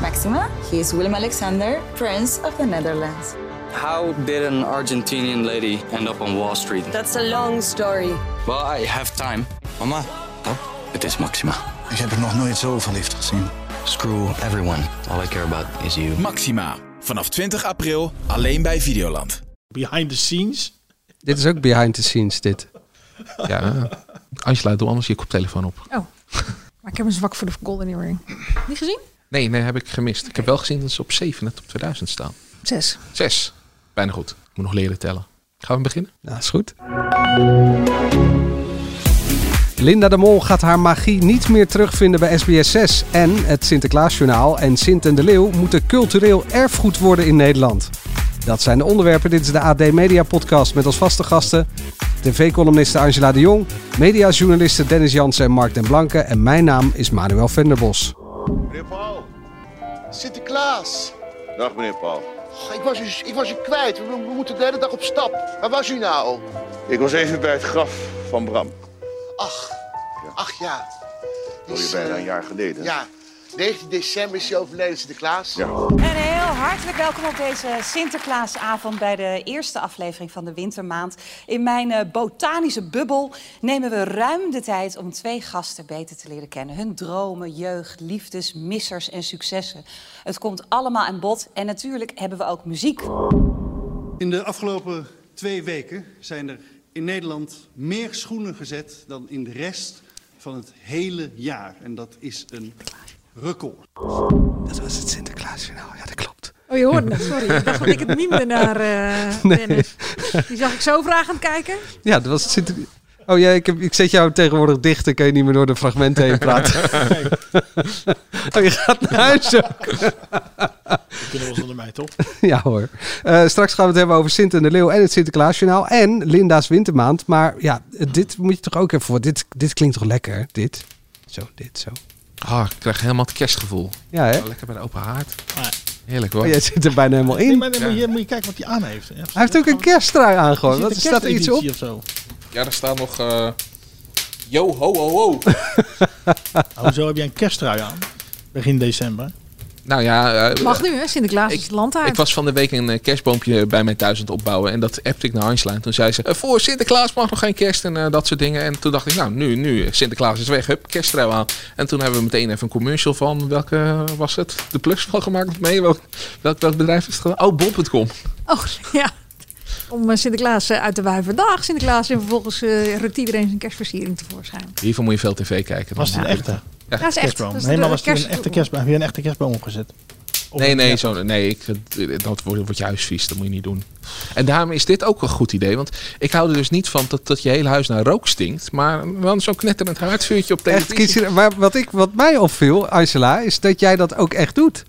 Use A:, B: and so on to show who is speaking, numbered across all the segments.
A: Maxima. He is Willem Alexander, Prince of the Netherlands.
B: How did an Argentinian lady end up on Wall Street?
C: That's a long story.
B: Well, I have time.
D: Mama,
B: Het is Maxima.
E: Ik heb er nog nooit zo verliefd gezien.
B: Screw everyone. All I care about is you.
F: Maxima. Vanaf 20 april alleen bij Videoland.
G: Behind the scenes.
H: Dit is ook behind the scenes, dit.
I: Ja. Angela, doe anders je koptelefoon op.
J: Maar ik heb een zwak voor de Golden Earring. Niet gezien?
I: Nee, nee, heb ik gemist. Ik heb wel gezien dat ze op 7 net op 2000 staan.
J: Zes.
I: Zes. Bijna goed. Ik moet nog leren tellen. Gaan we beginnen?
H: Nou, is goed. Linda de Mol gaat haar magie niet meer terugvinden bij SBS6. En het Sinterklaasjournaal en Sint en de Leeuw moeten cultureel erfgoed worden in Nederland. Dat zijn de onderwerpen. Dit is de AD Media Podcast met als vaste gasten tv-columniste Angela de Jong, mediajournalisten Dennis Jansen en Mark den Blanke. En mijn naam is Manuel Venderbos.
K: Meneer Paul. Sinterklaas. Dag meneer Paul. ik, was u, ik was u kwijt. We, we moeten de hele dag op stap. Waar was u nou? Ik was even bij het graf van Bram. Ach, ach ja. eh, Alweer bijna een jaar geleden. Ja, 19 december is hij overleden, Sinterklaas. Ja.
C: En heel hartelijk welkom op deze Sinterklaasavond bij de eerste aflevering van de wintermaand. In mijn eh, botanische bubbel nemen we ruim de tijd om twee gasten beter te leren kennen. Hun dromen, jeugd, liefdes, missers en successen. Het komt allemaal aan bod en natuurlijk hebben we ook muziek.
L: In de afgelopen twee weken zijn er in Nederland meer schoenen gezet dan in de rest van het hele jaar. En dat is een record.
H: Dat was het Sinterklaasjournaal. Ja, dat klopt.
J: Oh, je hoorde het. Sorry. Ik dacht dat ik het mimde naar eh
H: Nee.
J: Dennis. Die zag ik zo vragend kijken.
H: Ja, dat was het Sinter... Oh ja, ik, heb, ik zet jou tegenwoordig dicht. Dan kan je niet meer door de fragmenten heen praten. oh, je gaat naar huis ook.
G: Dat kunnen we zonder mij, toch?
H: Ja hoor. Eh, straks gaan we het hebben over Sint en de Leeuw en het Sinterklaasjournaal en Linda's Wintermaand. Maar ja, dit moet je toch ook even voor. Dit, dit klinkt toch lekker, dit? Zo, dit, zo.
I: Ah, ik krijg helemaal het kerstgevoel.
H: Ja hè?
I: Zo Lekker bij de open haard.
G: Ah.
I: Heerlijk hoor.
H: Oh, jij zit er bijna helemaal
G: Nee,
H: in.
G: maar dan moet, je, moet je kijken wat hij aan heeft. Hij
H: Hij heeft ook een kersttrui aan gewoon. Oh, Wat
G: is
H: staat er iets op?
G: Of zo.
I: Ja, daar staat nog... eh, Yo, ho, ho, ho.
G: Nou, Hoezo heb jij een kersttrui aan? Begin december.
I: nou ja... eh,
J: Mag nu, hè? Sinterklaas
I: Ik-
J: is het land uit.
I: Ik was van de week een eh, kerstboompje bij mijn thuis aan het opbouwen. En dat appte ik naar Angela. En toen zei ze, eh, voor Sinterklaas mag nog geen kerst en eh, dat soort dingen. En toen dacht ik, nou nu, nu, Sinterklaas is weg, hup, kersttrui aan. En toen hebben we meteen even een commercial van, welke eh, was het? De plus van gemaakt mee? Welk, welk, welk bedrijf is het gedaan? Oh, bol.com.
J: Oh, ja. Om eh, Sinterklaas eh, uit te wuiven. Dag Sinterklaas. En vervolgens eh, rukt iedereen zijn kerstversiering tevoorschijn.
I: Hiervoor moet je veel tv kijken.
G: Was het een echte
J: Ja, is echt.
G: kerstboom?
J: Dat is
G: Nee,
J: de
G: maar was het
J: kerst-
G: een echte kerstboom? Heb je een echte kerstboom opgezet? Of
I: Nee,
G: een-
I: nee,
G: ja.
I: zo, nee ik, eh, dat wordt, wordt je huis vies. Dat moet je niet doen. En daarom is dit ook een goed idee. Want ik hou er dus niet van dat, dat je hele huis naar rook stinkt. Maar wel zo'n knetterend haardvuurtje op
H: Echt
I: televisie.
H: kiezen. Maar wat, ik, wat mij opviel, Angela, is dat jij dat ook echt doet.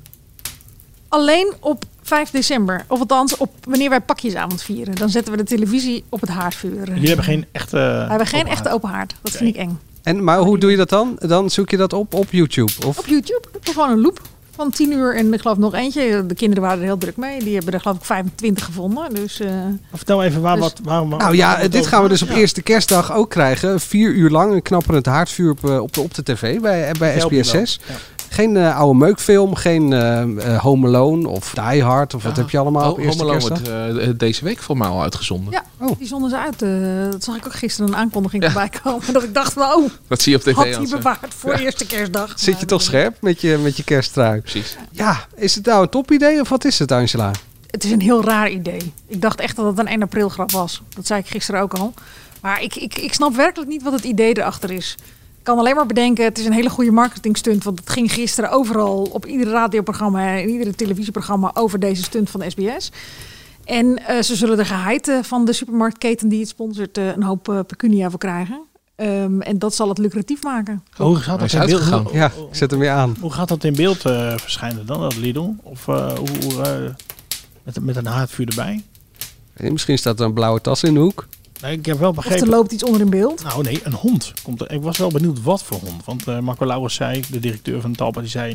J: Alleen op 5 december. Of althans, op wanneer wij pakjesavond vieren. Dan zetten we de televisie op het haardvuur.
G: Jullie hebben geen echte...
J: We hebben geen echte open haard. Dat vind ik eng.
H: En, maar hoe doe je dat dan? Dan zoek je dat op op YouTube. Of
J: Op YouTube heb je gewoon een loop van 10 uur en ik geloof nog eentje. De kinderen waren er heel druk mee. Die hebben er geloof ik 25 gevonden. Dus eh,
G: Vertel even waar,
J: Dus-
G: wat, waarom...
H: Nou ja, dit gaan we dus op
G: Ja.
H: eerste kerstdag ook krijgen. Vier uur lang een knapperend haardvuur op, eh, op de, op de tv bij, eh, bij
G: Help je wel.
H: SBS6. Geen eh, oude meukfilm, geen eh, eh, Home Alone of Die Hard of wat
I: Ja.
H: heb je allemaal op
I: Oh,
H: eerste
I: Home Alone
H: kerstdag?
I: wordt eh, deze week voor mij al uitgezonden.
J: ja,
H: Oh.
J: die zonden ze uit. eh, dat zag ik ook gisteren een aankondiging
I: Ja.
J: erbij komen. Dat ik dacht, nou,
I: Dat zie je op tv.
J: had die
I: als, eh,
J: bewaard voor eerste kerstdag.
H: Zit je
J: Maar,
H: toch
J: eh,
H: scherp met je, met je kersttrui?
I: Precies.
H: Ja, is het nou een topidee of wat is het Angela?
J: Het is een heel raar idee. Ik dacht echt dat het een 1 april grap was. Dat zei ik gisteren ook al. Maar ik, ik, ik snap werkelijk niet wat het idee erachter is. Ik kan alleen maar bedenken, het is een hele goede marketing stunt. Want het ging gisteren overal op iedere radioprogramma en iedere televisieprogramma over deze stunt van SBS. En eh, ze zullen er geheid eh, van de supermarktketen die het sponsort eh, een hoop eh, pecunia voor krijgen. Ehm, en dat zal het lucratief maken.
G: Oh, Hoe gaat
I: Hij
G: dat
I: is
G: in beeld?
I: uitgegaan.
G: Hoe-
H: Ja, ik zet hem weer aan.
G: Hoe gaat dat in beeld eh, verschijnen dan, dat Lidl? Of eh, hoe, hoe, eh, met, met een haardvuur erbij?
H: Eh, Misschien staat er een blauwe tas in de hoek.
G: Nee, ik heb wel
J: Of er
G: begrepen...
J: loopt iets onder in beeld.
G: Nou nee, een hond. Komt er. Ik was wel benieuwd wat voor hond. Want eh, Marco Lauwers zei, de directeur van Talpa, die zei...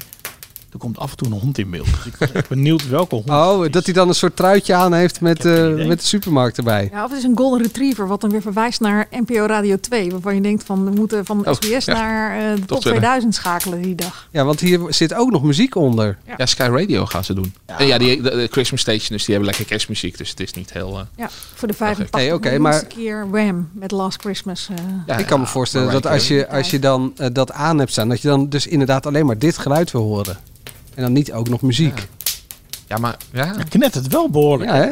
G: Er komt af en toe een hond in beeld. Dus ik was echt benieuwd welke hond.
H: Oh, dat hij dan een soort truitje aan heeft met, eh, met de supermarkt erbij.
J: Ja, of het is een golden retriever, wat dan weer verwijst naar NPO Radio 2. Waarvan je denkt van, we moeten van
H: Oh,
J: SBS
H: ja.
J: naar eh, de
H: Toch
J: top
H: verder.
J: 2000 schakelen die dag.
H: Ja, want hier zit ook nog muziek onder.
I: Ja, Sky Radio gaan ze doen. En ja, die, de, de Christmas Station, dus die hebben lekker kerstmuziek. Dus het is niet heel... eh,
J: Ja, voor de 85
H: Nee, oké,
J: miljoenste
H: maar-
J: keer Wham met Last Christmas. eh.
H: ik kan me voorstellen dat als je, als je dan eh, dat aan hebt staan, dat je dan dus inderdaad alleen maar dit geluid wil horen. En dan niet ook nog muziek.
I: Ja, maar ja.
G: knet het wel behoorlijk.
H: Ja, hè?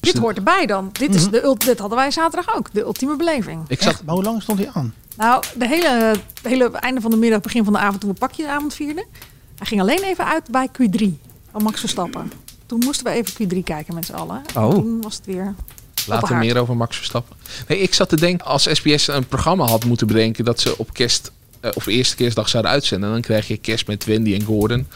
J: Dit hoort erbij dan. Dit, is de, ult- dit hadden wij zaterdag ook, de ultieme beleving.
I: Ik
G: zag... Maar hoe lang stond hij aan?
J: Nou, de hele, de hele einde van de middag, begin van de avond toen we pakje de avond vierden. Hij ging alleen even uit bij Q3 van Max Verstappen. Toen moesten we even Q3 kijken met z'n allen. En
I: Oh.
J: Toen was het weer
I: Later
J: opgehaald.
I: meer over Max Verstappen. Nee, ik zat te denken, als SBS een programma had moeten bedenken dat ze op kerst eh, of eerste kerstdag zouden uitzenden, dan krijg je kerst met Wendy en Gordon.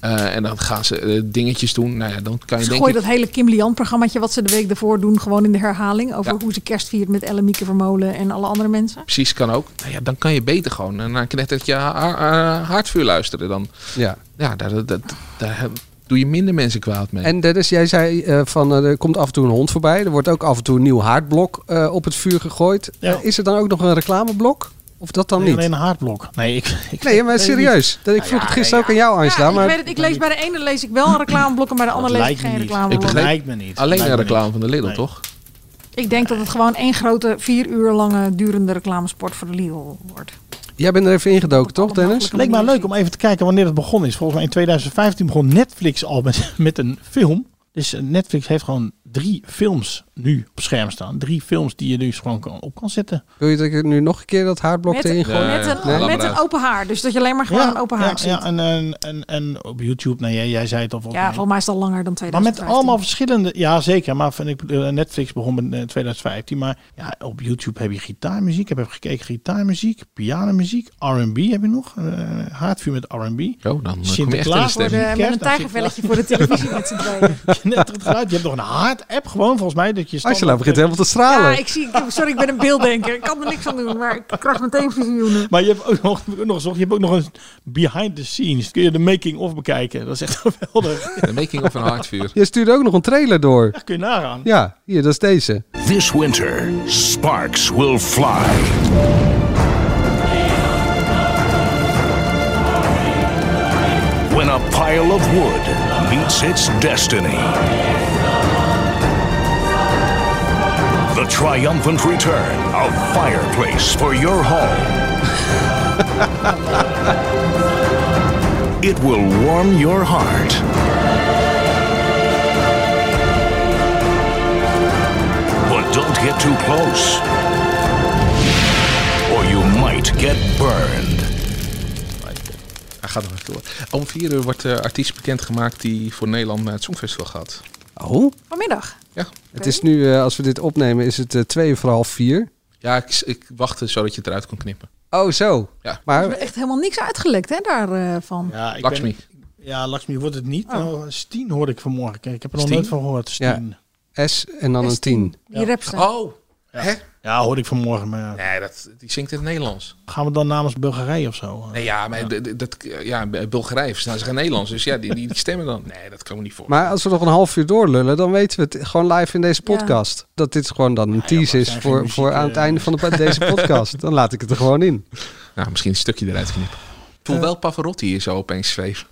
I: Eh, en dan gaan ze eh, dingetjes doen. Nou ja, dan kan je
J: Ze
I: denken.
J: gooien dat hele Kim Lian-programmaatje wat ze de week daarvoor doen... gewoon in de herhaling over
I: Ja.
J: hoe ze kerst viert met Ellen Mieke Vermolen en alle andere mensen.
I: Precies, kan ook. Nou ja, dan kan je beter gewoon eh, naar een knettertje ha- ha- eh, haardvuur luisteren. Dan,
H: Ja.
I: ja, daar, daar, daar, daar doe je minder mensen kwaad mee.
H: En Dennis, jij zei eh, van eh, er komt af en toe een hond voorbij. Er wordt ook af en toe een nieuw haardblok eh, op het vuur gegooid. Eh, is er dan ook nog een reclameblok? Of dat dan
G: Nee,
H: niet?
G: alleen een haardblok. Nee, ik, ik
H: Nee, maar
G: weet het
H: serieus.
G: niet.
J: Ah,
H: Dat ik
G: Nou
H: vroeg
G: ja,
H: het gisteren ook aan jou, Angela.
J: ik
H: maar...
J: weet het, ik lees bij de ene lees ik wel een reclameblokken, bij de andere lees ik
G: lijkt me
J: geen
G: niet.
I: ik
J: reclameblok.
I: begreep
G: lijkt me niet.
I: Alleen
G: Lijkt
I: een
G: me
I: reclame
G: niet.
I: van de Lidl,
G: Nee.
I: toch?
J: Ik denk dat het gewoon één grote, vier uur lange durende reclamesport voor de Lidl wordt.
H: Jij bent er even ingedoken, toch, Dennis?
G: Het leek mij leuk om even te kijken wanneer het begonnen is. Volgens mij in 2015 begon Netflix al met, met een film. Dus eh, Netflix heeft gewoon drie films nu op scherm staan. Drie films die je dus gewoon kan, op kan zetten.
H: Wil je dat ik nu nog een keer dat haardblok
J: Met,
H: erin gooi?
J: met, een, met een open haar, dus dat je alleen maar gewoon een open haar
G: ja,
J: ziet.
G: ja, en, en, en, en op YouTube, nou, jij, jij zei het al. volgens
J: Ja,
G: mij.
J: volgens mij is het al langer dan
G: Maar met
J: 2015.
G: allemaal verschillende, ja zeker. Maar van, ik, bedoel, Netflix begon in 2015. Maar ja, op YouTube heb je gitaarmuziek. Ik heb gekeken gitaarmuziek, pianomuziek, R&B heb je nog. eh haardvuur met R&B.
I: Oh, dan
G: Sinterklaas
J: Met, eh, met een tijgervelletje voor de televisie met z'n tweeën.
G: Net het geluid. Je hebt nog een haard-app gewoon volgens mij. Dat je
H: Angela begint helemaal te stralen.
J: Ja, ik zie, ik- sorry, ik ben een beelddenker. Ik kan er niks aan doen, maar ik krijg meteen visioenen.
G: Maar je hebt ook nog, ook nog, gezocht, je hebt ook nog een behind the scenes. Kun je de making-of bekijken. Dat is echt geweldig.
I: De making of een haardvuur.
H: Je stuurde ook nog een trailer door.
G: Kun je nagaan.
H: Ja, hier, dat is deze.
D: This winter, sparks will fly. When a pile of wood meets its destiny. The triumphant return of Fireplace for Your Home. it will warm your heart. But don't get too close, or you might get burned.
I: Hij gaat nog even door. Om vier uur wordt de artiest bekendgemaakt die voor Nederland naar het Songfestival gaat.
H: Oh,
J: Vanmiddag.
I: Ja.
H: het is nu, eh, als we dit opnemen, is het eh, twee voor half vier.
I: Ja, ik, ik wachtte zodat je het eruit kon knippen.
H: Oh, zo.
I: Ja.
H: Maar
J: Echt helemaal niks uitgelekt hè, eh, daarvan.
G: Ja, ik
I: Lakshmi.
G: ben- ja, Lakshmi wordt het niet.
J: Oh.
G: Nou, Steen hoorde ik vanmorgen. Kijk, ik heb er nog
H: Steen?
G: nooit van gehoord. Steen.
H: S en dan een tien.
J: Die rapster.
I: Oh, hè?
G: Ja, hoorde ik vanmorgen. Maar ja.
I: Nee, dat, die zingt in het Nederlands.
G: gaan we dan namens Bulgarije of zo?
I: Nee, ja, maar d- d- Dat, ja, Bulgarije verstaan ze geen Nederlands. Dus ja, die, die stemmen dan. Nee, dat kan me niet voor.
H: Maar als we nog een half uur doorlullen, dan weten we het gewoon live in deze podcast. Dat dit gewoon dan een tease is voor, voor aan het
I: eh.
H: einde van de, deze podcast. Dan laat ik het er gewoon in.
I: Nou, misschien een stukje eruit knippen. Ik
G: Eh.
I: voel wel Pavarotti hier zo opeens zweef.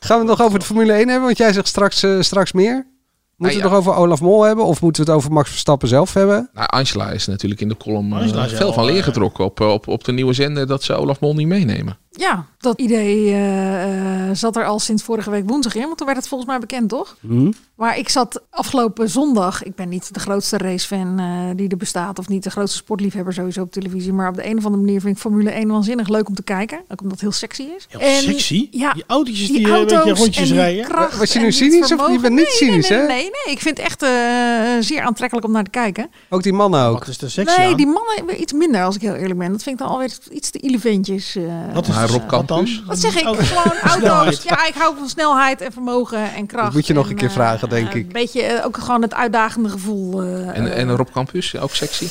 H: Gaan we het nog over de Formule 1 hebben? Want jij zegt straks, eh, straks meer. Moeten we het
I: Ah, ja.
H: nog over Olaf Mol hebben? Of moeten we het over Max Verstappen zelf hebben?
I: Nou, Angela is natuurlijk in de column eh,
G: Angela is
I: veel
G: al,
I: van leer
G: eh,
I: getrokken op, eh, op, op de nieuwe zender dat ze Olaf Mol niet meenemen.
J: Ja, dat idee eh, eh, zat er al sinds vorige week woensdag in, want toen werd het volgens mij bekend, toch?
G: Mhm.
J: Maar ik zat afgelopen zondag, ik ben niet de grootste racefan eh, die er bestaat, of niet de grootste sportliefhebber sowieso op televisie, maar op de een of andere manier vind ik Formule 1 waanzinnig leuk om te kijken, ook omdat het heel sexy is.
G: Heel sexy?
J: Ja,
G: Die autootjes die, eh, een beetje rondjes
J: en die
G: rijden.
J: kracht
H: Was je nu
J: en die
H: cynisch of- je
J: vermogen.
H: bent niet
J: Nee,
H: cynisch,
J: nee,
H: hè?
J: Nee, nee, nee, ik vind het echt eh, zeer aantrekkelijk om naar te kijken.
H: Ook die mannen ook.
G: Wat is de sexy
J: nee,
G: aan?
J: die mannen weer iets minder, als ik heel eerlijk ben. Dat vind ik dan alweer iets te eleventjes. eh,
G: Wat is
I: Maar
G: de- wat
I: Rob
G: dan?
I: Campus?
J: wat zeg
H: Oh.
J: ik? Gewoon auto's.
G: Snelheid.
J: Ja, ik hou van snelheid en vermogen en kracht.
H: Dat moet je nog
J: en,
H: een keer
J: eh,
H: vragen, denk ik.
J: Een beetje eh, ook gewoon het uitdagende gevoel. eh,
I: En,
J: eh,
I: en Rob Campus, ook sexy.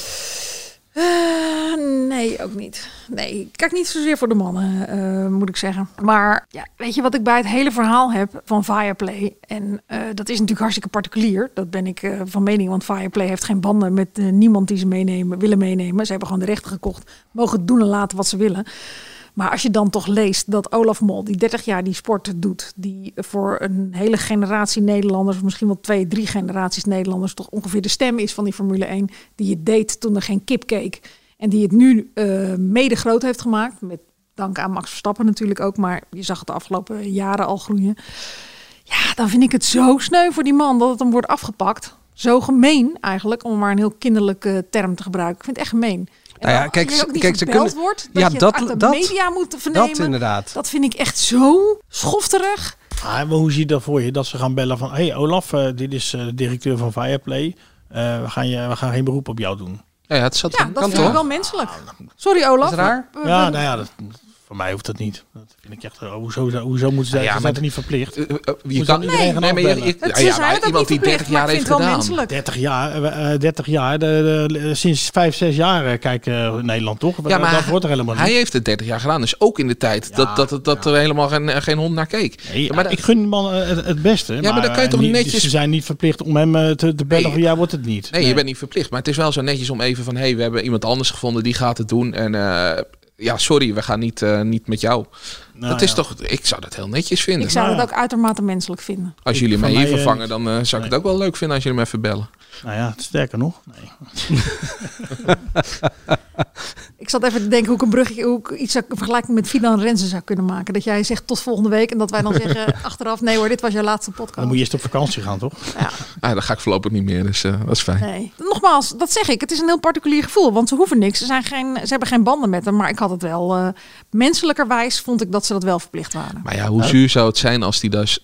J: Eh, nee, ook niet. Nee, ik kijk niet zozeer voor de mannen, eh, moet ik zeggen. Maar ja, weet je wat ik bij het hele verhaal heb van Viaplay? En eh, dat is natuurlijk hartstikke particulier. Dat ben ik eh, van mening, want Viaplay heeft geen banden met eh, niemand die ze meenemen, willen meenemen. Ze hebben gewoon de rechten gekocht, mogen doen en laten wat ze willen. Maar als je dan toch leest dat Olaf Mol, die 30 jaar die sport doet, die voor een hele generatie Nederlanders, of misschien wel twee, drie generaties Nederlanders, toch ongeveer de stem is van die Formule 1, die je deed toen er geen kip keek. En die het nu eh, mede groot heeft gemaakt, met dank aan Max Verstappen natuurlijk ook, maar je zag het de afgelopen jaren al groeien. Ja, dan vind ik het zo sneu voor die man dat het hem wordt afgepakt. Zo gemeen eigenlijk, om maar een heel kinderlijke term te gebruiken. Ik vind het echt gemeen. En
H: Nou ja,
J: dat
H: kijk,
J: je ook niet
H: kijk, ze
J: gebeld
H: kunnen-
J: wordt,
H: ja,
J: dat je
H: dat-
J: het uit de
H: dat-
J: media moet vernemen.
H: dat inderdaad.
J: Dat vind ik echt zo schofterig.
G: Ah, maar hoe zie je dat voor je? Dat ze gaan bellen van... hey Olaf, eh, dit is eh, de directeur van Fireplay. Eh, we, gaan je, we gaan geen beroep op jou doen.
I: Ja, het zat
J: Ja, dat vind ik wel menselijk. Sorry Olaf. maar, eh,
G: Ja,
J: we-
G: nou ja, dat, voor mij hoeft dat niet. Dat vind ik echt... eh, hoezo, hoezo moeten ze... Ja,
I: Nou Ja, maar- Eh,
G: zijn er niet verplicht?
I: Je kan,
G: iedereen gaan
I: nee, maar je-
G: afbellen?
I: je-
J: Het
I: ja,
J: is-
I: maar
J: hij had ook
I: iemand
J: niet
I: die 30
J: verplicht, maar
I: jaar
J: ik
I: heeft
J: vind het wel
I: gedaan.
J: menselijk.
G: 30 jaar, eh, eh, 30 jaar de, sinds 5, 6 jaar eh, kijkt eh, Nederland toch?
I: Ja, maar
G: dat wordt er helemaal niet.
I: Hij heeft het 30 jaar gedaan, dus ook in de tijd dat, dat, dat, dat er helemaal geen, eh, geen hond naar keek.
G: Nee,
I: Ja, maar
G: ik gun die man eh, het, het beste. Ja,
I: maar dan kan je toch netjes-
G: Ze zijn niet verplicht om hem eh, te, te bellen
I: Nee.
G: van jij wordt het niet.
I: Nee, je bent niet verplicht. Maar het is wel zo netjes om even van... hé, hey, we hebben iemand anders gevonden, die gaat het doen. En eh, ja, sorry, we gaan niet, eh, niet met jou.
G: Nou,
I: dat is
G: ja.
I: toch... Ik zou dat heel netjes vinden.
J: Ik zou
G: Nou
J: dat ook uitermate menselijk vinden.
I: Als jullie
G: Ik-
I: me
G: van
I: hier
G: mij, eh,
I: vervangen, dan eh, zou ik het ook wel leuk vinden als jullie me even bellen.
G: Nou ja, sterker nog. Nee.
J: Ik zat even te denken hoe ik een brugje, hoe ik iets zou, een vergelijking met Fidan Renzen zou kunnen maken. Dat jij zegt tot volgende week en dat wij dan zeggen achteraf, nee hoor, dit was jouw laatste podcast.
G: Dan moet je eerst op vakantie gaan, toch?
I: Ah, dat ga ik voorlopig niet meer, dus eh, dat is fijn.
J: Nee. Nogmaals, dat zeg ik. Het is een heel particulier gevoel, want ze hoeven niks. Ze, zijn geen, ze hebben geen banden met hem, maar ik had het wel. eh, menselijkerwijs vond ik dat ze dat wel verplicht waren.
I: Maar ja, hoe zuur zou het zijn als die dus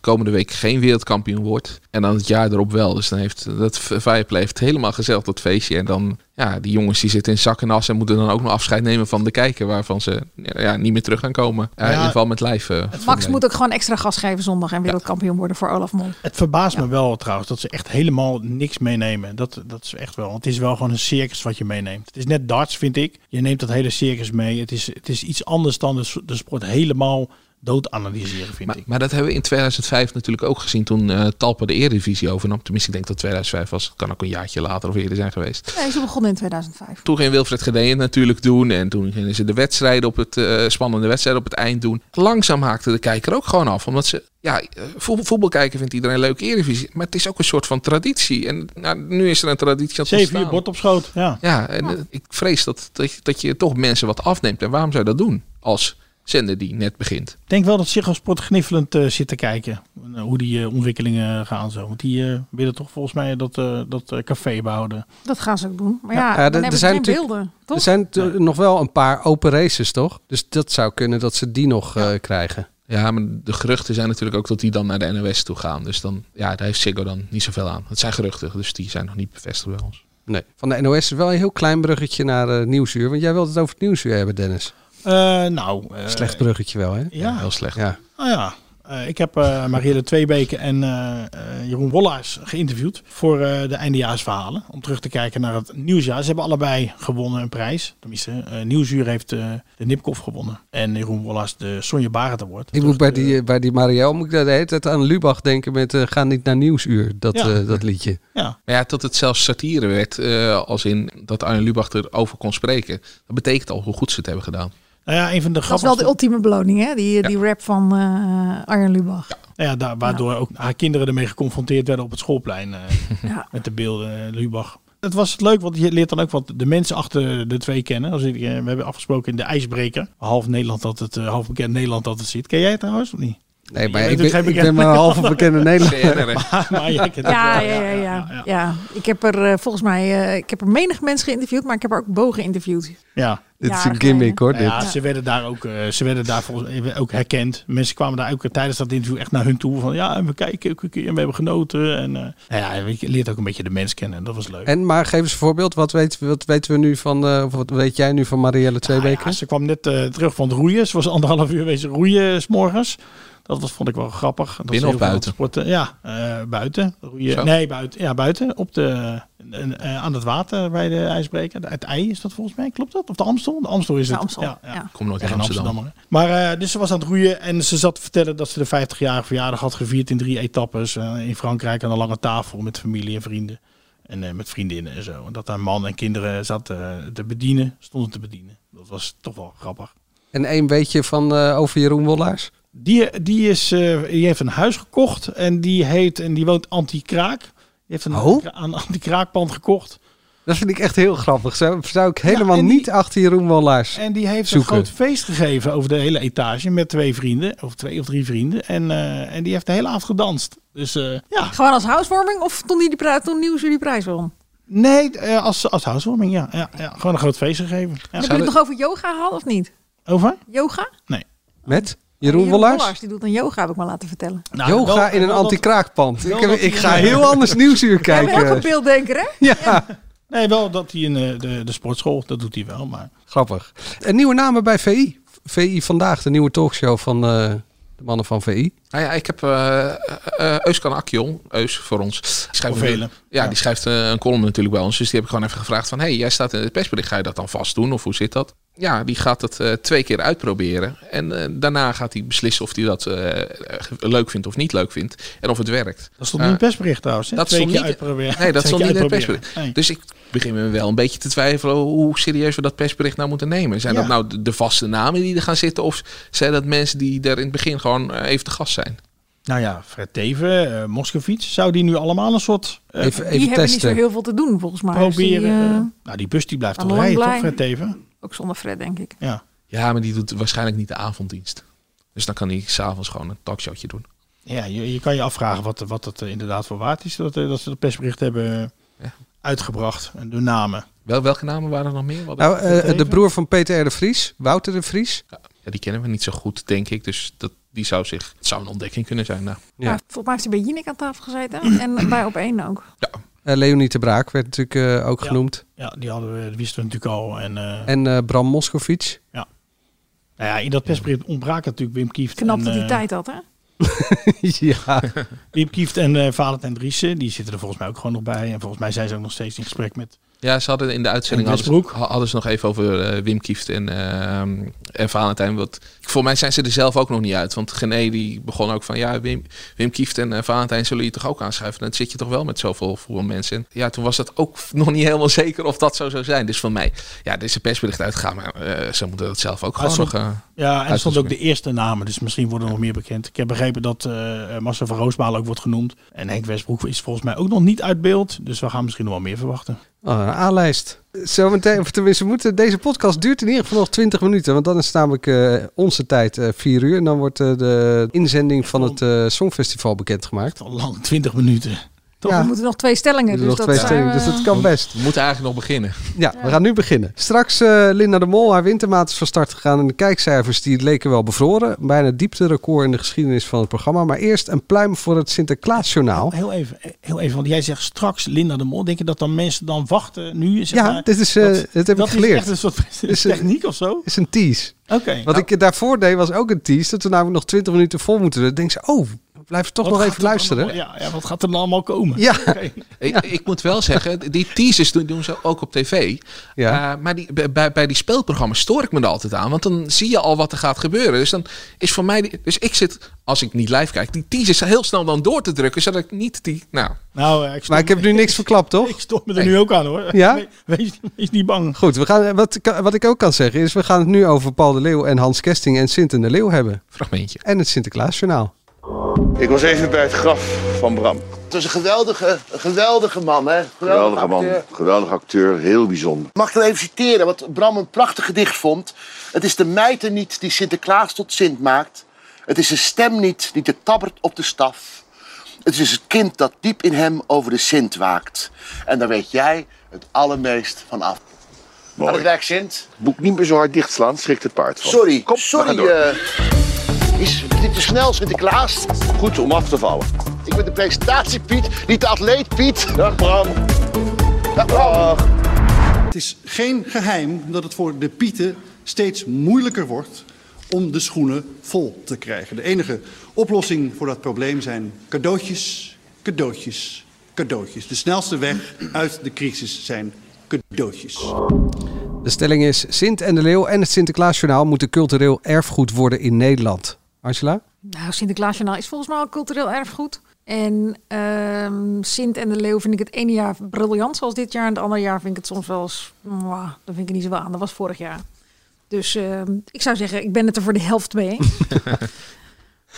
I: komende week geen wereldkampioen wordt... en dan het jaar erop wel. Dus dan heeft dat Viaplay heeft helemaal gezellig dat feestje. En dan, ja, die jongens die zitten in zak en as... en moeten dan ook nog afscheid nemen van de kijker... waarvan ze ja, niet meer terug gaan komen.
G: Ja,
I: Eh, in ieder geval met lijf. eh,
J: Max
I: probleem.
J: moet ook gewoon extra gas geven zondag en wereldkampioen worden voor Olaf Mol.
G: Het verbaast me wel trouwens dat ze echt helemaal niks meenemen. Dat, dat is echt wel. Want het is wel gewoon een circus wat je meeneemt. Het is net darts, vind ik. Je neemt dat hele circus mee. Het is, het is iets anders dan de, s- de sport helemaal dood analyseren, vind
I: Maar,
G: ik.
I: maar dat hebben we in 2005 natuurlijk ook gezien toen eh Talpa de Eredivisie overnam. Tenminste, ik denk dat 2005 was. Het kan ook een jaartje later of eerder zijn geweest.
J: Nee, ze begonnen in 2005.
I: Toen ging Wilfred Gené het natuurlijk doen. En toen gingen ze de wedstrijden op het, eh, spannende wedstrijden op het eind doen. Langzaam haakte de kijker ook gewoon af. Omdat ze, ja, eh, voetbal, voetbal kijken vindt iedereen leuk Eredivisie. Maar het is ook een soort van traditie. En nou, nu is er een traditie aan het
G: Zeven uur
I: ontstaan.
G: bord op schoot. Ja.
I: Ja, en eh, ik vrees dat, dat, je- dat je toch mensen wat afneemt. En waarom zou je dat doen als zender die net begint?
G: Ik denk wel dat zich als sport gniffelend eh, zit te kijken. eh, hoe die eh, ontwikkelingen gaan zo. Want die eh, willen toch volgens mij dat, eh, dat eh, café behouden.
J: Dat gaan ze ook doen. Maar ja,
H: Ja,
J: dan
H: er- er
J: hebben ze
H: zijn
J: geen
H: natuurlijk-
J: beelden,
H: Er
J: toch?
H: zijn t- nog wel een paar open races, toch? Dus dat zou kunnen dat ze die nog eh, krijgen.
I: Ja, maar de geruchten zijn natuurlijk ook dat die dan naar de NOS toe gaan. Dus dan, ja, daar heeft Ziggo dan niet zoveel aan. Het zijn geruchten, dus die zijn nog niet bevestigd bij ons.
H: Nee. Van de NOS wel een heel klein bruggetje naar eh, Nieuwsuur. Want jij wilde het over het Nieuwsuur hebben, Dennis.
G: Eh, nou, eh,
H: Slecht bruggetje wel, hè?
G: Ja,
I: Heel slecht.
H: Ja.
G: Nou ja, eh, ik heb eh Marielle Tweebeke en eh, eh, Jeroen Wollaars geïnterviewd voor eh, de eindejaarsverhalen. Om terug te kijken naar het nieuwsjaar. Ze hebben allebei gewonnen een prijs. Tenminste, eh, Nieuwsuur heeft eh, de Nipkoff gewonnen. En Jeroen Wollaars de Sonja Barend Award.
H: Ik moet bij die, eh, bij die Marielle moet ik daar de hele tijd aan Lubach denken met eh, Ga niet naar Nieuwsuur, dat,
G: Ja.
H: eh, dat liedje.
G: Ja,
I: Maar Nou ja, dat het zelfs satire werd, eh, als in dat Arjen Lubach erover kon spreken. Dat betekent al hoe goed ze het hebben gedaan.
G: nou ja, een van de
J: Dat is wel
G: grappigste...
J: de ultieme beloning, hè? Die, die rap van eh, Arjen Lubach.
G: Nou ja, daar, waardoor ook haar kinderen ermee geconfronteerd werden op het schoolplein. eh,
J: Ja.
G: Met de beelden, eh, Lubach. Het was het leuk, want je leert dan ook wat de mensen achter de twee kennen. Als ik, eh, we hebben afgesproken in de ijsbreker. Half Nederland dat het, eh, half bekend Nederland dat het zit. Ken jij het trouwens of niet?
H: Nee, maar
G: bent
H: ik
G: dus
H: ben,
G: geen
H: ik ben
G: bekende
H: maar een halve bekende Nederlander.
I: BNR, hè?
G: maar jij kent het
J: Ja,
G: wel,
J: ja, ja, ja, ja. Ik heb er eh, volgens mij, eh, ik heb er menig mensen geïnterviewd, maar ik heb er ook Bo geïnterviewd.
G: Ja.
H: Dit is
J: Jaar
H: een gimmick,
J: geleden.
H: hoor.
G: Nou ja,
H: dit.
G: ze werden daar ook, eh, ze werden daar volgens, eh, ook herkend. Mensen kwamen daar ook eh, tijdens dat interview echt naar hun toe. Van ja, en we kijken ook een keer en we hebben genoten. En, eh, nou ja, weet je, je leert ook een beetje de mens kennen. Dat was leuk.
H: En maar geef eens een voorbeeld. Wat, weet, wat weten we nu van, eh, of wat weet jij nu van Marielle
G: Nou ja,
H: Tweebeke?
G: ze kwam net eh, terug van het roeien. Ze was anderhalf uur wezen roeien s'morgens. eh, Dat was, vond ik wel grappig. Dat
I: Binnen
G: ze
I: of
G: heel veel
I: buiten?
G: Sporten. Ja, eh, buiten. Roeien.
I: Zo.
G: Nee, buiten. Ja, buiten. Op de, en, eh, aan het water bij de ijsbreker. Het ei is dat volgens mij, klopt dat? Of de Amstel? De Amstel is
J: De
G: het.
J: Amstel, ja.
I: Kom nooit in
G: Ja, geen
I: Amsterdam.
G: Amsterdammer, hè. Maar eh, dus ze was aan het roeien en ze zat te vertellen dat ze de 50-jarige verjaardag had gevierd in drie etappes. eh, in Frankrijk aan een lange tafel met familie en vrienden. En eh, met vriendinnen en zo. En dat haar man en kinderen zaten eh, te bedienen, stonden te bedienen. Dat was toch wel grappig.
H: En één weetje van eh, over Jeroen Wollaars.
G: Die, die, is, eh, die heeft een huis gekocht en die, heet, en die woont anti-kraak. Die heeft een,
H: Oh?
G: een anti-kraakpand gekocht.
H: Dat vind ik echt heel grappig. Zou, zou ik helemaal
G: en die-
H: niet achter Jeroen Wollaars
G: En die heeft
H: zoeken.
G: een groot feest gegeven over de hele etage met twee vrienden. Of twee of drie vrienden. En, eh, en die heeft de hele avond gedanst. Dus eh, ja,
J: Gewoon als housewarming of toen, die die pri- toen Nieuws die prijs won?
G: Nee, eh, als, als housewarming, ja. Ja, ja. Gewoon een groot feest gegeven. Ja.
J: Hebben jullie het nog over yoga gehad of niet?
G: Over?
J: Yoga?
H: Met Jeroen Wollaars.
J: Die doet een yoga, heb ik maar laten vertellen.
G: Nou,
H: Yoga
G: wel-
H: in een
G: wel dat-
H: anti-kraakpand. Ik,
G: wel
H: heb-
G: dat
H: ik
G: hij-
H: ga heel anders nieuwsuur
J: Jij bent ook
H: kijken.
J: een beelddenker, hè?
H: Ja,
G: Nee, wel dat hij in eh, de, de sportschool, dat doet hij wel. Maar
H: grappig. En nieuwe namen bij VI. VI Vandaag, de nieuwe talkshow van eh, de mannen van VI.
I: Nou ja, ik heb eh eh Euskan Akjol, Eus voor ons. Die schrijft
G: Voor
I: een-
G: velen.
I: Ja, die schrijft eh, een column natuurlijk bij ons. Dus die heb ik gewoon even gevraagd van... hé, hey, jij staat in het persbericht, ga je dat dan vast doen? Of hoe zit dat? Ja, die gaat het eh, twee keer uitproberen. En eh, daarna gaat hij beslissen of hij dat eh, leuk vindt of niet leuk vindt. En of het werkt.
G: dat stond niet in het persbericht trouwens. Hè?
I: dat
G: Twee
I: stond
G: keer
I: niet-
G: uitproberen.
I: Nee, dat
G: Twee keer
I: stond niet in het
G: uitproberen.
I: persbericht. Dus ik begin me wel een beetje te twijfelen hoe serieus we dat persbericht nou moeten nemen. Zijn dat
G: Ja.
I: nou de- de vaste namen die er gaan zitten? Of zijn dat mensen die er in het begin gewoon eh, even te gast zijn?
G: Nou ja, Fred Teven, eh Moskovits, zou die nu allemaal een soort eh,
H: Even,
J: Die
H: even
J: hebben niet zo
H: testen.
J: heel veel te doen, volgens mij. Dus die,
G: proberen?
J: eh,
G: eh, nou, die bus die blijft
J: al
G: toch
J: lang
G: rijden, toch,
J: blij.
G: Fred Teven?
J: ook zonder Fred, denk ik.
G: Ja.
I: Ja, maar die doet waarschijnlijk niet de avonddienst. Dus dan kan hij s'avonds gewoon een talkshowtje doen.
G: Ja, je, je kan je afvragen wat, wat het eh, inderdaad voor waard is dat, eh, dat ze dat persbericht hebben eh,
I: Ja.
G: uitgebracht. En de namen.
I: Wel, welke namen waren er nog meer? Wat-
H: Nou, eh,
G: Even.
H: de broer van Peter R. de Vries, Wouter de Vries.
I: ja, die kennen we niet zo goed, denk ik. Dus dat, die zou zich, het zou een ontdekking kunnen zijn. Nou,
H: Ja.
J: Maar volgens mij heeft hij bij Jinek aan tafel gezeten. en bij Opeen ook.
H: Eh, Leonie de Braak werd natuurlijk eh, ook
G: Ja.
H: genoemd.
G: Ja, die hadden we, die wisten we natuurlijk al. En, eh,
H: En eh, Bram Moskovic.
G: Nou ja, in dat persbericht ontbraken natuurlijk Wim Kieft.
J: Knap dat
G: en,
J: hij
G: eh,
J: tijd had, hè?
H: ja.
G: Wim Kieft en eh Valentijn Driessen, die zitten er volgens mij ook gewoon nog bij. En volgens mij zijn ze ook nog steeds in gesprek met...
I: ja, ze hadden in de uitzending
G: En
I: hadden ze,
G: Westbroek?
I: ha- hadden ze nog even over eh, Wim Kieft en, ehm en Valentijn. Want voor mij zijn ze er zelf ook nog niet uit. Want Gené die begon ook van, ja, Wim, Wim Kieft en eh, Valentijn zullen je toch ook aanschuiven. Dan zit je toch wel met zoveel voor mensen. En ja, toen was dat ook nog niet helemaal zeker of dat zo zou zijn. Dus van mij, ja, er is een persbericht uitgegaan. Maar eh, ze moeten dat zelf ook
G: Maar
I: gewoon nog...
G: ze-
I: eh,
G: Ja, en er stond ook
I: Uitgesproken.
G: de eerste namen, dus misschien worden er nog meer bekend. Ik heb begrepen dat eh eh, Marcel van Roosmalen ook wordt genoemd. En Henk Westbroek is volgens mij ook nog niet uit beeld. Dus we gaan misschien nog wel meer verwachten.
H: Oh, een A-lijst. Zometeen, of tenminste, we moeten, deze podcast duurt in ieder geval nog 20 minuten. Want dan is namelijk eh, onze tijd eh 4 uur. En dan wordt eh, de inzending van het eh, Songfestival bekendgemaakt.
G: Het is al lang, 20 minuten. Toch?
H: Ja.
J: We moeten nog twee stellingen.
H: Er
J: Dus
H: nog
J: dat
H: twee
J: zijn
H: stellingen,
J: we-
H: dus dat kan best.
I: We moeten eigenlijk nog beginnen.
H: Ja, we gaan nu beginnen. Straks eh, Linda de Mol, haar wintermaat is van start gegaan. En de kijkcijfers die leken wel bevroren. Bijna het diepterecord in de geschiedenis van het programma. Maar eerst een pluim voor het Sinterklaasjournaal.
G: Heel even, eh, heel even, want jij zegt straks Linda de Mol. Denk je dat dan mensen dan wachten nu? Zeg
H: Ja,
G: maar,
H: dit is, eh,
G: dat-
H: dit heb
G: dat
H: ik geleerd.
G: is echt een soort
H: Is het-
G: techniek of zo?
H: is een tease.
G: Oké.
H: Wat
G: Nou-
H: ik daarvoor deed was ook een tease. Dat we namelijk nog 20 minuten vol moeten. doen. Dan denk ze, oh, blijf toch
G: Wat
H: nog
G: gaat
H: even
G: er dan
H: luisteren.
G: allemaal- ja, ja, wat gaat er dan allemaal komen?
H: Ja.
G: Oké.
I: Ik, ik moet wel zeggen, die teasers doen, doen ze ook op tv.
H: Ja.
I: Eh, maar die, bij- bij, bij die speelprogramma's stoor ik me er altijd aan. Want dan zie je al wat er gaat gebeuren. Dus dan is voor mij. die- dus ik zit, als ik niet live kijk, die teasers heel snel dan door te drukken. Zodat ik niet die. Nou,
G: Nou, eh, ik stop-
H: Maar ik heb nu niks verklapt, toch?
G: Ik stop me er nu ook aan hoor.
H: Ja?
G: Nee, Wees, wees niet bang.
H: Goed, we gaan, wat, ik- wat ik ook kan zeggen is... we gaan het nu over Paul de Leeuw en Hans Kesting en Sint en de Leeuw hebben.
I: fragmentje.
H: En het Sinterklaasjournaal.
K: Ik was even bij het graf van Bram.
M: Het was een geweldige, een geweldige man, hè?
K: Geweldige man,
M: acteur.
K: geweldige acteur, heel bijzonder.
M: Mag ik dan even citeren wat Bram een prachtig gedicht vond? Het is de mijter niet die Sinterklaas tot Sint maakt. Het is de stem niet die te tabbert op de staf. Het is het kind dat diep in hem over de Sint waakt. En daar weet jij het allermeest van af. Aan het
K: Mooi.
M: werk, Sint.
K: Boek niet meer zo hard dichtslaan, schrikt het paard van. Kom,
M: Sorry,
K: we gaan
M: sorry.
K: door.
M: eh, is dit te snel, Sinterklaas?
K: Goed om af te vallen.
M: Ik ben de presentatie, Piet, niet de atleet, Piet.
K: Dag Bram.
M: Dag, Bram.
L: Het is geen geheim dat het voor de Pieten steeds moeilijker wordt om de schoenen vol te krijgen. De enige oplossing voor dat probleem zijn cadeautjes, cadeautjes, cadeautjes. De snelste weg uit de crisis zijn cadeautjes.
H: De stelling is: Sint en de Leeuw en het Sinterklaasjournaal moeten cultureel erfgoed worden in Nederland. Angela?
J: Nou, Sinterklaasjournaal is volgens mij al cultureel erfgoed. En ehm, Sint en de Leeuw vind ik het ene jaar briljant, zoals dit jaar. En het andere jaar vind ik het soms wel eens... mwah, dat vind ik er niet zo wel aan. Dat was vorig jaar. Dus ehm, ik zou zeggen, ik ben het er voor de helft mee eens.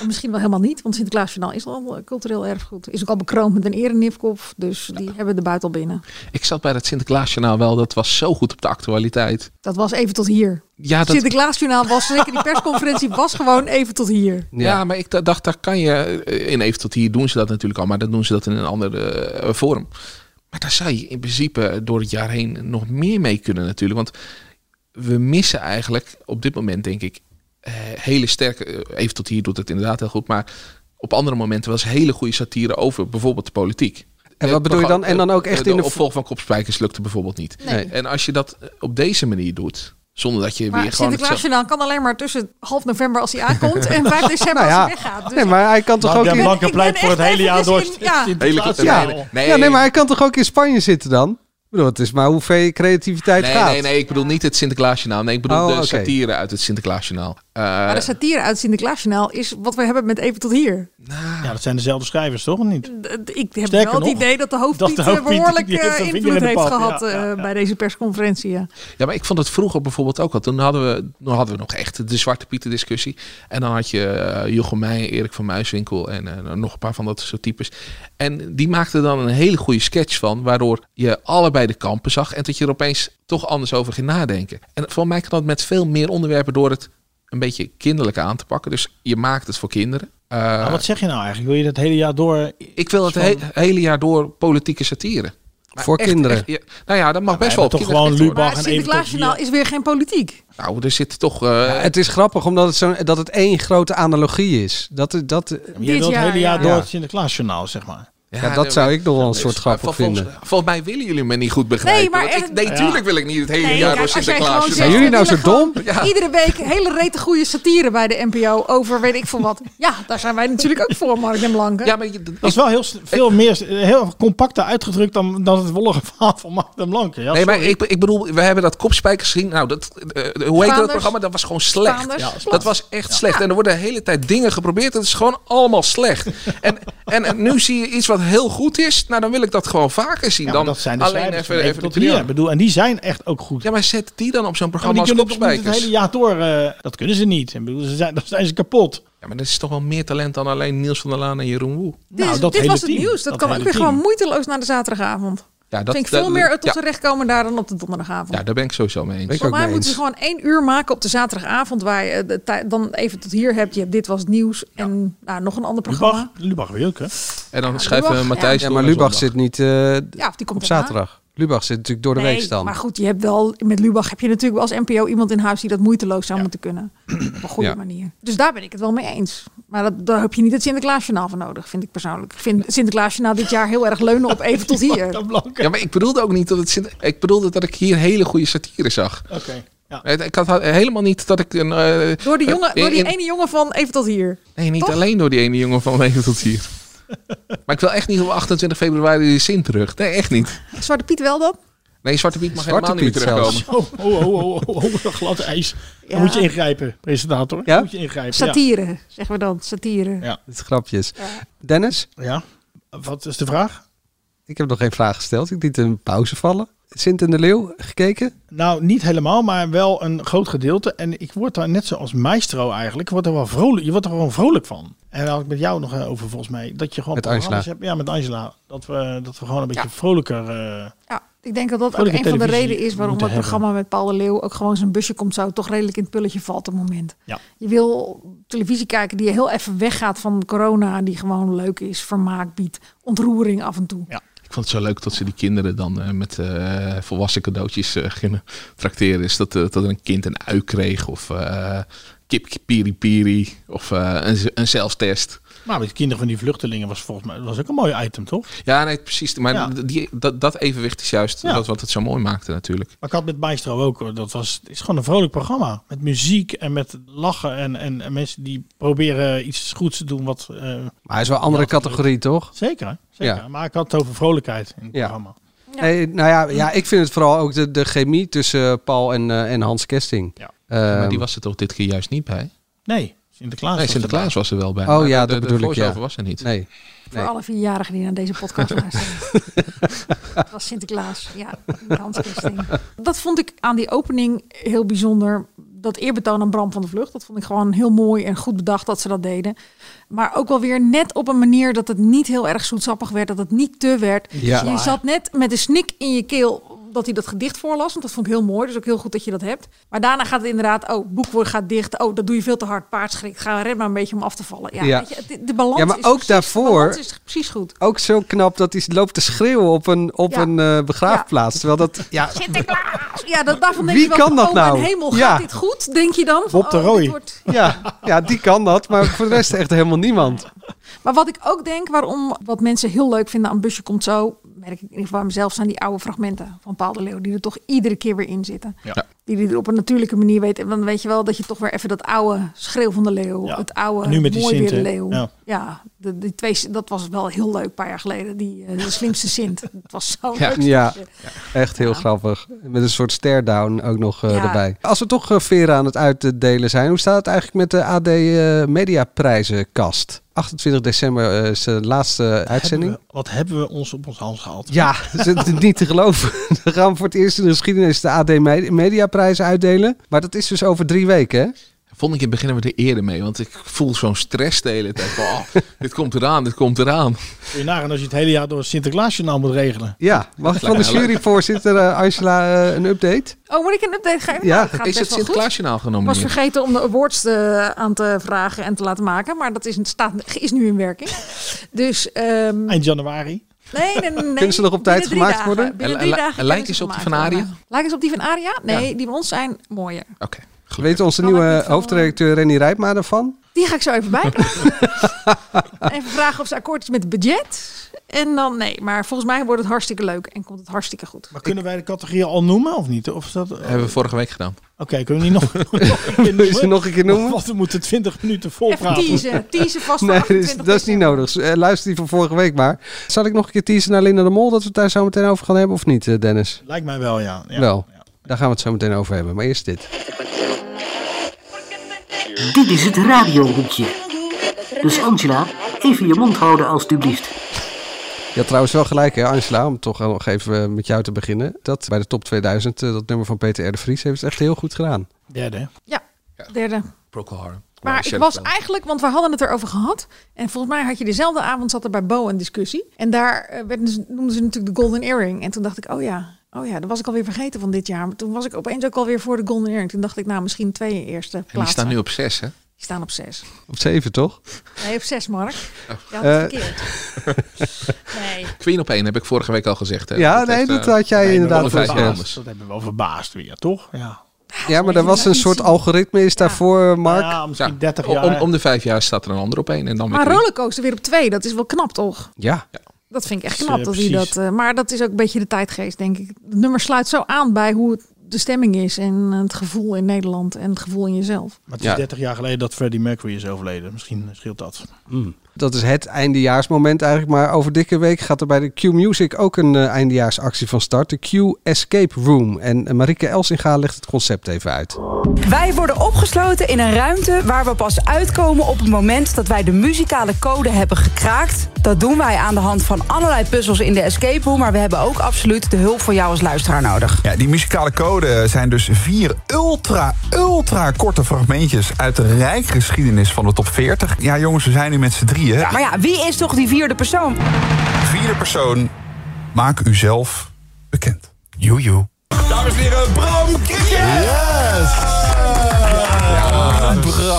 J: Of Misschien wel helemaal niet, want Sinterklaasjournaal is al eh, cultureel erfgoed. Is ook al bekroond met een erennipkop, dus die hebben de buit al binnen.
I: Ik zat bij dat Sinterklaasjournaal wel, dat was zo goed op de actualiteit.
J: Dat was even tot hier.
I: Ja, dat-
J: Sinterklaasjournaal was zeker, die persconferentie was gewoon even tot hier.
I: Ja, maar ik da- dacht, daar kan je... eh, In even tot hier doen ze dat natuurlijk al, maar dan doen ze dat in een andere eh, vorm. Maar daar zou je in principe door het jaar heen nog meer mee kunnen natuurlijk. Want we missen eigenlijk op dit moment, denk ik, eh, hele sterke... eh, Even tot hier doet het inderdaad heel goed, maar op andere momenten was hele goede satire over bijvoorbeeld de politiek.
H: En wat bedoel
I: Het
H: je dan?
I: programma-
H: En dan ook echt
I: eh, de
H: in de-
I: opvolg van Kopspijkers lukte bijvoorbeeld niet.
J: Nee.
I: En als je dat eh, op deze manier doet, zonder dat je weer
J: Maar
I: gewoon...
J: Sinterklaasjournaal kan alleen maar tussen half november als hij aankomt en 5 december
H: Nou ja.
J: als hij weggaat. Dus
H: Nee, maar hij kan toch ook. in-
G: blanke pleit voor het hele jaar door.
J: in-
H: ja.
J: ja.
I: Nee,
H: Nee. ja, nee, maar hij kan toch ook in Spanje zitten dan? Ik bedoel, het is maar hoe ver je creativiteit
I: nee,
H: gaat.
I: nee, nee, ik bedoel niet het Sinterklaasjournaal. Nee, ik bedoel
H: Oh,
I: de
H: oké.
I: satire uit het Sinterklaasjournaal. Eh,
J: Maar de satire uit Sinterklaasjournaal is wat we hebben met Even tot hier.
G: Ja, dat zijn dezelfde schrijvers, toch? Of niet?
J: D- d- Ik heb
G: Sterker
J: wel het
G: nog,
J: idee dat de
G: dat
J: hoofdpiet,
G: de hoofdpiet,
J: eh, behoorlijk
G: die heeft een
J: eh,
G: vinger
J: invloed
G: in de
J: heeft
G: pad,
J: gehad
G: ja,
J: eh, bij deze persconferentie. eh. Ja.
I: ja, maar ik vond het vroeger bijvoorbeeld ook al. Toen hadden we, toen hadden we nog echt de Zwarte Pieten discussie. En dan had je eh, Jochem Meijer, Erik van Muiswinkel en eh, nog een paar van dat soort types. En die maakten dan een hele goede sketch van, waardoor je allebei de kampen zag. En dat je er opeens toch anders over ging nadenken. En van mij kan dat met veel meer onderwerpen door het een beetje kinderlijk aan te pakken. Dus je maakt het voor kinderen. Eh,
H: Ah,
G: Maar wat zeg je nou eigenlijk? Wil je dat hele jaar door...
I: Ik wil het he- hele jaar door politieke satire. Maar
G: Voor kinderen.
I: ja, nou ja, dat mag best
G: wij
I: wel.
G: hebben
I: op
G: toch gewoon
I: kinderen
J: Maar
I: gericht
J: het
I: worden.
J: Sinterklaasjournaal is weer geen politiek.
I: Nou, er zit toch... eh,
H: Ja, het is grappig omdat het, zo'n dat het één grote analogie is. Dat, dat,
G: Je wilt het
J: jaar,
G: hele jaar
J: ja.
G: door
H: Ja.
G: het Sinterklaasjournaal, zeg maar.
H: ja, dat zou ik nog wel een soort grappig
I: vol- volgens,
H: vinden.
I: volgens mij willen jullie me niet goed begrijpen.
J: Nee, maar
I: want ik-
J: echt-
I: nee,
J: Ja.
I: tuurlijk wil ik niet het hele
J: Nee,
I: jaar
J: kijk,
I: door
J: als jij gewoon
I: Sinterklaas.
J: zegt,
H: Zijn jullie nou
J: we
H: zo
J: willen
H: dom?
J: gewoon Iedere week hele rete goede satire bij de NPO over weet ik veel wat. Ja, daar zijn wij natuurlijk ook voor, Mark en Blanke.
I: Ja, maar je- dat-
G: Dat is wel heel, s- veel meer, heel compacter uitgedrukt dan, dan het wollige verhaal van Mark en Blanke. Ja,
I: nee, maar
G: sorry.
I: ik, ik bedoel, we hebben dat kopspijkers gezien. Nou, dat, eh, eh, hoe heet dat
J: Vaanders.
I: programma? Dat was gewoon slecht.
J: Vaanders. Ja, dat is
I: dat was echt slecht. En er worden de hele tijd dingen geprobeerd. Dat is gewoon allemaal slecht. en, en, en nu zie je iets wat heel goed is. Nou, dan wil ik dat gewoon vaker zien.
G: Ja, maar
I: dan
G: dat zijn de
I: alleen
G: schrijvers
I: even,
G: van even,
I: even
G: tot
I: de
G: hier.
I: periode.
G: Ik bedoel, en die zijn echt ook goed.
I: Ja, maar zet die dan op zo'n
G: Ja, maar
I: programma
G: die
I: als
G: kunnen ook niet het
I: kopspijkers.
G: hele jaar door. eh, dat kunnen ze niet. Ik bedoel, ze zijn, dan zijn ze kapot.
I: Ja, maar dat is toch wel meer talent dan alleen Niels van der Laan en Jeroen Woe.
J: dit is-
G: nou, dat
J: dit
G: hele
J: was het
G: team.
J: nieuws. Dat,
G: Dat
J: kan ook
G: hele
J: weer
G: team.
J: gewoon moeiteloos naar de zaterdagavond.
I: Ja,
J: Dat, vind ik veel meer tot
I: ja,
J: z'n recht komen daar dan op de donderdagavond.
I: Ja, daar ben ik sowieso mee eens.
H: Ben ik ook
J: Volgens mij
H: mee
J: moeten
H: eens.
J: ze gewoon één uur maken op de zaterdagavond. Waar je eh, de tij- dan even tot hier hebt. Je hebt dit was het nieuws. En nou, nog een ander
G: Lubach,
J: programma.
G: Lubach wil ik, hè?
I: En dan schrijven we
J: Lubach,
I: Matthijs
H: Ja,
I: door
H: maar
I: naar
H: Lubach
I: zondag.
H: zit niet eh,
J: Ja, of die komt
H: op
J: daarna.
H: zaterdag. Lubach zit natuurlijk door de
J: Nee,
H: week dan.
J: Maar goed, je hebt wel, met Lubach heb je natuurlijk als NPO iemand in huis die dat moeiteloos zou moeten kunnen. Op een goede
H: Ja.
J: manier. Dus daar ben ik het wel mee eens. Maar dat, daar heb je niet het Sinterklaasjournaal voor nodig, vind ik persoonlijk. Ik vind Sinterklaasjournaal dit jaar heel erg leunen op even tot hier.
G: Dan Blanke.
I: Ja, maar ik bedoelde ook niet dat het... Sint- Ik bedoelde dat ik hier hele goede satire zag.
G: Oké. Ja.
I: Het- Ik had ha- helemaal niet dat ik een... eh,
J: Door, die jongen,
I: eh,
J: door die
I: in-
J: ene jongen van even tot hier.
I: Nee, niet
J: Toch?
I: alleen door die ene jongen van Leven tot hier. maar ik wil echt niet op 28 februari die zin terug. Nee, echt niet.
J: Zwarte Piet wel dan?
I: Nee, Zwarte Piet mag
H: Zwarte
I: helemaal niet
H: Piet
I: meer terugkomen.
G: Oh, oh, oh, oh, oh, oh, glad ijs.
J: Ja.
G: Dan moet je ingrijpen, presentator.
H: Ja?
G: Dan moet je ingrijpen.
J: Satire, zeggen we dan. Satire.
G: Ja.
H: Het is grapjes. Dennis,
G: Ja. ja. Wat is de vraag?
H: ik heb nog geen vraag gesteld. Ik liet een pauze vallen. Sint en de Leeuw gekeken?
G: Nou, niet helemaal, maar wel een groot gedeelte. En ik word daar net zoals maestro eigenlijk, ik word er wel vrolijk, je wordt er gewoon vrolijk van. En daar had ik met jou nog eh, over volgens mij. Dat je gewoon
H: Met
G: programma's
H: Angela.
G: hebt. Ja, met Angela. Dat we, dat we gewoon een beetje vrolijker... eh,
J: Ja, ik denk dat dat ook
G: Vrolijke
J: een van de
G: televisie
J: redenen is waarom het
G: moeten hebben.
J: programma met Paul de Leeuw ook gewoon zijn busje komt zo toch redelijk in het pulletje valt op het moment.
G: Ja.
J: Je wil televisie kijken die heel even weggaat van corona, die gewoon leuk is, vermaak biedt, ontroering af en toe.
G: Ja.
I: Ik vond het zo leuk dat ze die kinderen dan eh, met eh, volwassen cadeautjes eh, gingen trakteren. Is dat, eh, dat er een kind een ui kreeg of eh, kip piri piri of eh, een, z- een zelftest.
G: Maar met kinderen van die vluchtelingen was volgens mij was ook een mooi item, toch?
I: Ja, nee, precies. Maar
G: Ja.
I: d- die, dat, dat evenwicht is juist
G: Ja.
I: wat, wat het zo mooi maakte natuurlijk.
G: Maar ik had met Maestro ook, hoor. dat was, het is gewoon een vrolijk programma. Met muziek en met lachen en, en, en mensen die proberen iets goeds te doen. Wat, eh,
H: Maar hij is wel een andere categorie, toch?
G: zeker, zeker.
H: Ja.
G: Maar ik had het over vrolijkheid in het programma.
H: Nee, nou ja, ja, ik vind het vooral ook de, de chemie tussen Paul en, eh, en Hans Kesting. Ehm,
G: Ja.
I: maar die was er toch dit keer juist niet bij?
G: Nee, Sinterklaas.
I: nee,
G: was
I: Sinterklaas
G: erbij.
I: was er wel bij.
H: Oh
I: maar
H: ja,
I: de,
H: dat
I: de
H: bedoel ik, ja.
I: voice-over was er niet.
H: Nee.
J: Voor alle vierjarigen die naar deze podcast luisteren. dat was Sinterklaas. Ja, de handkisting. Dat vond ik aan die opening heel bijzonder. Dat eerbetoon aan Bram van de Vlucht. Dat vond ik gewoon heel mooi en goed bedacht dat ze dat deden. Maar ook wel weer net op een manier dat het niet heel erg zoetsappig werd. Dat het niet te werd.
H: Ja.
J: Je zat net met een snik in je keel dat hij dat gedicht voorlas. Want dat vond ik heel mooi. Dus ook heel goed dat je dat hebt. Maar daarna gaat het inderdaad... Oh, boekwoord gaat dicht. Oh, dat doe je veel te hard. Paard schrikt. Ga red maar een beetje om af te vallen. Ja,
H: Ja.
J: Weet je, het- de balans
H: Ja, maar
J: is
H: ook
J: precies- de
H: daarvoor-
J: balans is precies goed.
H: Ook zo knap dat hij loopt te schreeuwen op een, op
J: Ja.
H: een eh, begraafplaats. Terwijl dat, ja,
J: Sinterklaas! Ja, dat, daarvan denk
H: Wie
J: je wel,
H: kan dat
J: oh
H: nou?
J: mijn hemel,
H: Ja.
J: gaat dit goed? Denk je dan? van,
H: Bob de
J: oh, dit
H: Rooij.
J: wordt-
H: ja, ja, die kan dat. Maar voor de rest echt helemaal niemand.
J: Maar wat ik ook denk, waarom wat mensen heel leuk vinden aan Busje Komt Zo... merk ik in ieder geval aan mezelf, zijn die oude fragmenten van Paul de Leeuw... die er toch iedere keer weer in zitten.
I: Ja.
J: Die die er op een natuurlijke manier weet. En dan weet je wel dat je toch weer even dat oude schreeuw van de leeuw... het oude,
G: En nu met die
J: mooi weer de
G: Sint, hè?
J: leeuw. Ja,
G: Ja.
J: de, die twee, dat was wel heel leuk een paar jaar geleden. Die, eh, de slimste Sint. Het was zo
H: Ja,
J: leuk.
H: ja, echt heel grappig. Met een soort stare-down ook nog eh,
J: Ja.
H: erbij. Als we toch eh, veren aan het uitdelen zijn, hoe staat het eigenlijk met de AD eh, Mediaprijzenkast? 28 december eh, is de laatste uitzending.
G: Hebben we- wat hebben we ons op ons hand gehaald?
H: Ja, het is het niet te geloven. Dan gaan we voor het eerst in de geschiedenis de AD Medi- Mediaprijzen uitdelen. Maar dat is dus over drie weken, hè?
I: Vond ik in beginnen we er eerder mee, want ik voel zo'n stress de hele tijd. Van, oh, dit komt eraan, dit komt eraan.
G: Kun je nagaan als je het hele jaar door het Sinterklaasjournaal moet regelen.
H: Ja, mag ik van de
I: Lijkt me
H: juryvoorzitter eh, Angela eh, een update?
J: Oh, moet ik een update geven?
H: Ja.
J: Nou, dat gaat
I: Is het
J: best wel goed.
I: Sinterklaasjournaal
J: Ik
I: genomen?
J: was vergeten om de awards eh, aan te vragen en te laten maken. Maar dat is, een- staat, is nu in werking. Dus, ehm,
G: Eind januari.
J: nee, nee, nee.
H: Kunnen ze nog op tijd
J: Binnen drie
H: gemaakt
J: dagen.
H: worden?
J: Binnen
I: En-
J: drie
I: en-
J: dagen
I: en
J: kunnen
I: lijkt
J: ze
I: eens op die
J: gemaakt
I: van
J: worden.
I: Aria?
J: Lijkt eens op die van Aria? Nee, die van ons zijn mooier.
H: Weet onze nieuwe hoofdredacteur Renny Rijpma ervan?
J: Die ga ik zo even bijpraten. even vragen of ze akkoord is met het budget. En dan nee. Maar volgens mij wordt het hartstikke leuk en komt het hartstikke goed.
G: Maar kunnen wij de categorie al noemen of niet? Of is dat... Oké,
I: Hebben we vorige week gedaan.
G: kunnen we die nog, nog een keer
H: Wil je ze
G: noemen?
H: nog een keer noemen?
G: Want we moeten 20 minuten
J: Even
G: volpraten.
J: teasen. Teasen vast voor
H: Nee, dat is,
J: 28
H: dat is niet
J: december.
H: nodig. Eh, Luister die van vorige week maar. Zal ik nog een keer teasen naar Linda de Mol dat we het daar zo meteen over gaan hebben of niet, eh, Dennis?
G: Lijkt mij wel, ja. ja.
H: Wel, daar gaan we het zo meteen over hebben. Maar eerst dit.
N: Dit is het radiohoekje. Dus Angela, even je mond houden alstublieft.
H: Ja, trouwens wel gelijk hè Angela, om toch nog even eh, met jou te beginnen. Dat bij de top 2000, eh, dat nummer van Peter R. de Vries, heeft het echt heel goed gedaan.
G: Derde. hè?
J: Ja, derde.
I: Procol Harum.
J: Maar ik was eigenlijk, want we hadden het erover gehad. En volgens mij had je dezelfde avond, zat er bij Bo een discussie. En daar eh, werden ze- noemden ze natuurlijk de Golden Earring. En toen dacht ik, oh ja, oh ja, dat was ik alweer vergeten van dit jaar. Maar toen was ik opeens ook alweer voor de Golden Earring. Toen dacht ik, nou, misschien twee eerste plaatsen.
I: En die staan nu op zes, hè?
J: Die staan op zes.
H: Op zeven toch?
J: Nee, op zes, Mark.
I: Oh.
J: Je had
H: Eh,
J: het verkeerd. nee.
I: Queen op één heb ik vorige week al gezegd. Hè?
H: Ja, nee,
I: heeft,
H: dat
I: eh,
H: had jij
I: nee,
H: inderdaad
I: alle vijf
H: gezegd.
I: namens.
G: Dat hebben we wel verbaasd weer, toch? Ja,
H: Ja, maar er was
J: nou
H: een soort algoritme is daarvoor, eh, Mark.
G: ja misschien
I: Ja,
G: 30
I: om-
G: jaar.
I: Om, om de vijf jaar staat er een ander op één. En dan weer
J: Maar
I: Queen.
J: rollercoaster weer op twee, dat is wel knap toch?
H: Ja.
J: Dat vind ik echt
G: Dus,
J: knap
G: eh,
J: dat hij dat.
G: precies.
J: eh, maar dat is ook een beetje de tijdgeest, denk ik. Het nummer sluit zo aan bij hoe het- de stemming is en eh, het gevoel in Nederland en het gevoel in jezelf.
G: Maar het is
I: Ja.
G: 30 jaar geleden dat Freddie Mercury is overleden. Misschien scheelt dat.
H: Dat is het eindejaarsmoment eigenlijk. Maar over dikke week gaat er bij de Q Music ook een eh, eindejaarsactie van start. De Q Escape Room. En eh, Marieke Elsinga legt het concept even uit.
O: Wij worden opgesloten in een ruimte waar we pas uitkomen op het moment dat wij de muzikale code hebben gekraakt. Dat doen wij aan de hand van allerlei puzzels in de escape room, maar we hebben ook absoluut de hulp van jou als luisteraar nodig.
P: Ja, die muzikale code zijn dus vier ultra, ultra korte fragmentjes uit de rijke geschiedenis van de top 40. Ja, jongens, we zijn nu met z'n drieën.
O: Maar ja, wie is toch die vierde persoon?
P: Vierde persoon, maak u zelf bekend. Joejoe. Dames en heren, Bram Krikke! Yes!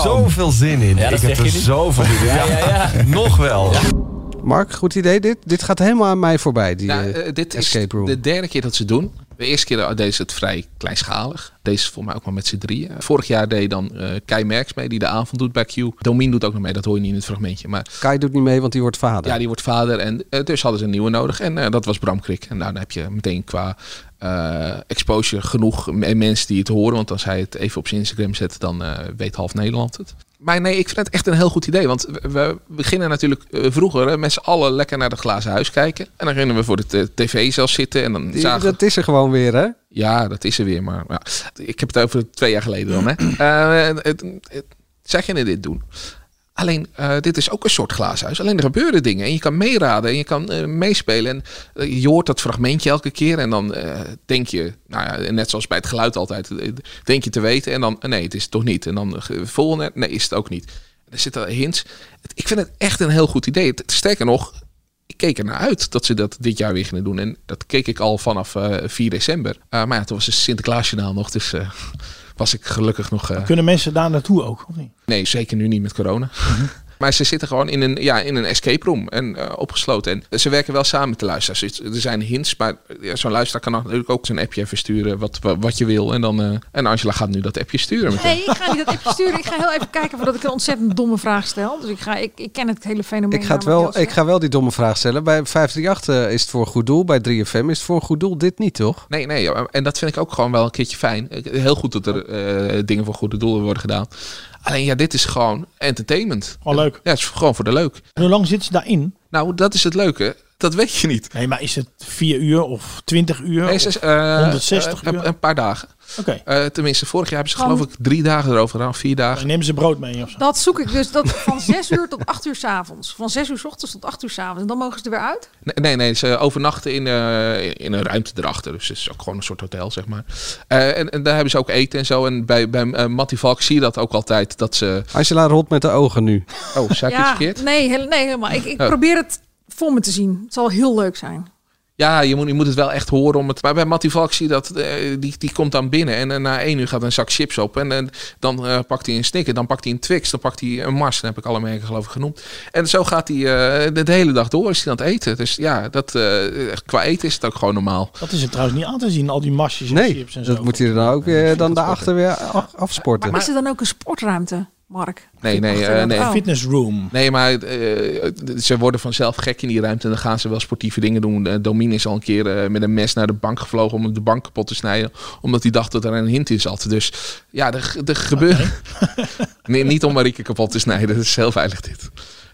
Q: Zoveel zin in. ik heb er zoveel zin in. Ja, Nog wel.
H: Mark, goed idee dit. Dit gaat helemaal aan mij voorbij, die
I: Nou,
H: eh,
I: eh, dit is
H: Escape Room.
I: de derde keer dat ze het doen. De eerste keer deden ze het vrij kleinschalig. Deze volgens mij ook maar met z'n drieën. Vorig jaar deed dan eh Kai Merks mee, die de avond doet bij Q. Domien doet ook nog mee, dat hoor je niet in het fragmentje. Maar
H: Kai doet niet mee, want die wordt vader.
I: ja, die wordt vader. En eh, dus hadden ze een nieuwe nodig. En eh, dat was Bram Krik. En nou, dan heb je meteen qua eh, exposure genoeg m- mensen die het horen. Want als hij het even op zijn Instagram zet, dan eh, weet half Nederland het. Maar nee, ik vind het echt een heel goed idee. Want we- we beginnen natuurlijk eh, vroeger hè, met z'n allen lekker naar de glazen huis kijken. En dan gingen we voor de t- tv zelf zitten. En dan
H: Die-
I: zagen we
H: dat is er gewoon weer, hè?
I: ja, dat is er weer. Maar ja, ik heb het over twee jaar geleden dan. Hè. Eh, het, het, zij gingen dit doen. Alleen, eh, dit is ook een soort glaashuis. Alleen er gebeuren dingen. En je kan meeraden en je kan eh, meespelen. En eh, je hoort dat fragmentje elke keer. En dan eh, denk je, nou ja, net zoals bij het geluid altijd, eh, denk je te weten. En dan, eh, nee, het is het toch niet. En dan eh, volgende, nee, is het ook niet. Er zitten hints. Het- Ik vind het echt een heel goed idee. Het- Sterker nog, ik keek er naar uit dat ze dat dit jaar weer gingen doen. En dat keek ik al vanaf eh, 4 december. Eh, maar ja, toen was het Sinterklaasjournaal nog. Dus eh, was ik gelukkig nog... eh,
G: Kunnen mensen daar naartoe ook, of niet?
I: Nee, zeker nu niet met corona. Maar ze zitten gewoon in een, ja, in een escape room en eh, opgesloten. En ze werken wel samen met de luisteraars. Dus Er zijn hints, maar ja, zo'n luisteraar kan natuurlijk ook zijn appje even sturen wat, wat, wat je wil. En, dan, eh, en Angela gaat nu dat appje sturen. meteen.
J: Nee, ik ga niet dat appje sturen. Ik ga heel even kijken voordat ik een ontzettend domme vraag stel. Dus ik, ga, ik, ik ken het hele fenomeen.
H: Ik ga, het
J: namelijk
H: wel, ik ga wel die domme vraag stellen. Bij 538 eh, is het voor een goed doel. Bij 3FM is het voor een goed doel. Dit niet, toch?
I: Nee, nee. ja, En dat vind ik ook gewoon wel een keertje fijn. Ik- Heel goed dat er eh, dingen voor goede doelen worden gedaan. Alleen ja, dit is gewoon entertainment.
G: Gewoon leuk.
I: Ja, het is gewoon voor de leuk.
G: En hoe lang zitten ze daarin?
I: Nou, dat is het leuke. Dat weet je niet.
G: Nee, maar is het vier uur of twintig uur?
I: Nee,
G: of
I: ze is, eh,
G: 160
I: een,
G: uur?
I: een paar dagen.
G: Oké.
I: Eh, tenminste, vorig jaar hebben ze
J: Gewoon-
I: geloof ik drie dagen erover gedaan, vier dagen.
G: Neem ze brood mee of zo.
J: zelfs. Dat zoek ik dus. Dat van 6 uur tot 8 uur s avonds. Van 6 uur s ochtends tot 8 uur s avonds. En dan mogen ze er weer uit.
I: Nee, nee, nee, ze overnachten in, eh, in een ruimte erachter. Dus het is ook gewoon een soort hotel, zeg maar. Eh, en, en daar hebben ze ook eten en zo. En bij, bij eh, Matty Valk zie je dat ook altijd. Dat ze...
H: Angela rolt met de ogen nu.
I: Oh, zei ik iets verkeerd?
J: nee, heel, nee, helemaal. Ik, ik
I: Oh.
J: probeer het voor me te zien. Het zal heel leuk zijn.
I: Ja, je moet, je moet het wel echt horen om het. Maar bij Matty Valk zie je dat eh, die, die komt dan binnen en eh, na één uur gaat een zak chips op. En eh, dan eh, pakt hij een snicker, dan pakt hij een Twix, dan pakt hij een Mars. Dan heb ik alle merken geloof ik genoemd. En zo gaat hij eh, de, de hele dag door is hij aan het eten. Dus ja, dat, eh, qua eten is het ook gewoon normaal.
G: Dat is het trouwens niet aan te zien, al die masjes en
H: Nee,
G: chips en zo.
H: dat moet hij er dan ook weer dan daarachter weer af- afsporten.
J: is er dan ook een sportruimte, Mark?
I: Nee, nee, eh, nee.
J: Oh.
G: Fitness room.
I: Nee, maar eh, ze worden vanzelf gek in die ruimte en dan gaan ze wel sportieve dingen doen. Eh, Domine is al een keer eh, met een mes naar de bank gevlogen om de bank kapot te snijden, omdat hij dacht dat er een hint in zat. Dus ja, er, er gebeuren. nee, niet om Marieke kapot te snijden, dat is heel veilig dit.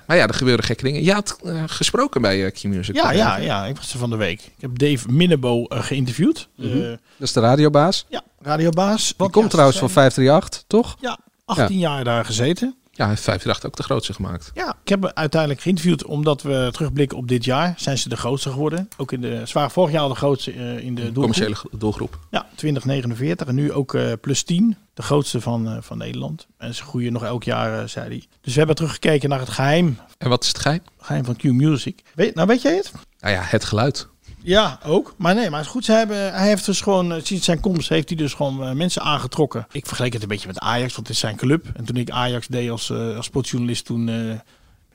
I: Maar ja, er gebeuren gekke dingen. Je had eh, gesproken bij eh, Q-Music.
G: Ja, ja, ja. Ik was er van de week. Ik heb Dave Minnebo eh, geïnterviewd. Eh,
H: Dat is de radiobaas.
G: ja, radiobaas.
H: Die komt trouwens van 538, toch?
G: Ja, 18 jaar daar gezeten.
I: Ja, hij heeft 538 ook de grootste gemaakt.
G: Ja, ik heb hem uiteindelijk geïnterviewd omdat we terugblikken op dit jaar. Zijn ze de grootste geworden. Ook in de, ze waren vorig jaar al de grootste eh, in de doelgroep.
I: Commerciële gro- doelgroep.
G: Ja, 2049 en nu ook eh, plus 10. De grootste van, eh, van Nederland. En ze groeien nog elk jaar, eh, zei hij. Dus we hebben teruggekeken naar het geheim.
I: En wat is het geheim?
G: Geheim van Q-Music. Weet, nou, weet jij het?
I: Nou ja, het geluid.
G: Ja, ook. Maar nee, maar het is goed. Ze hebben, hij heeft dus gewoon, eh, sinds zijn komst heeft hij dus gewoon eh, mensen aangetrokken. Ik vergelijk het een beetje met Ajax, want het is zijn club. En toen ik Ajax deed als, eh, als sportjournalist, toen eh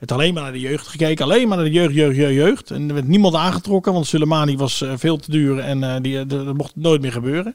G: werd alleen maar naar de jeugd gekeken. Alleen maar naar de jeugd, jeugd, jeugd, jeugd. En er werd niemand aangetrokken, want Sulemani was eh, veel te duur en eh, die, eh, dat mocht nooit meer gebeuren.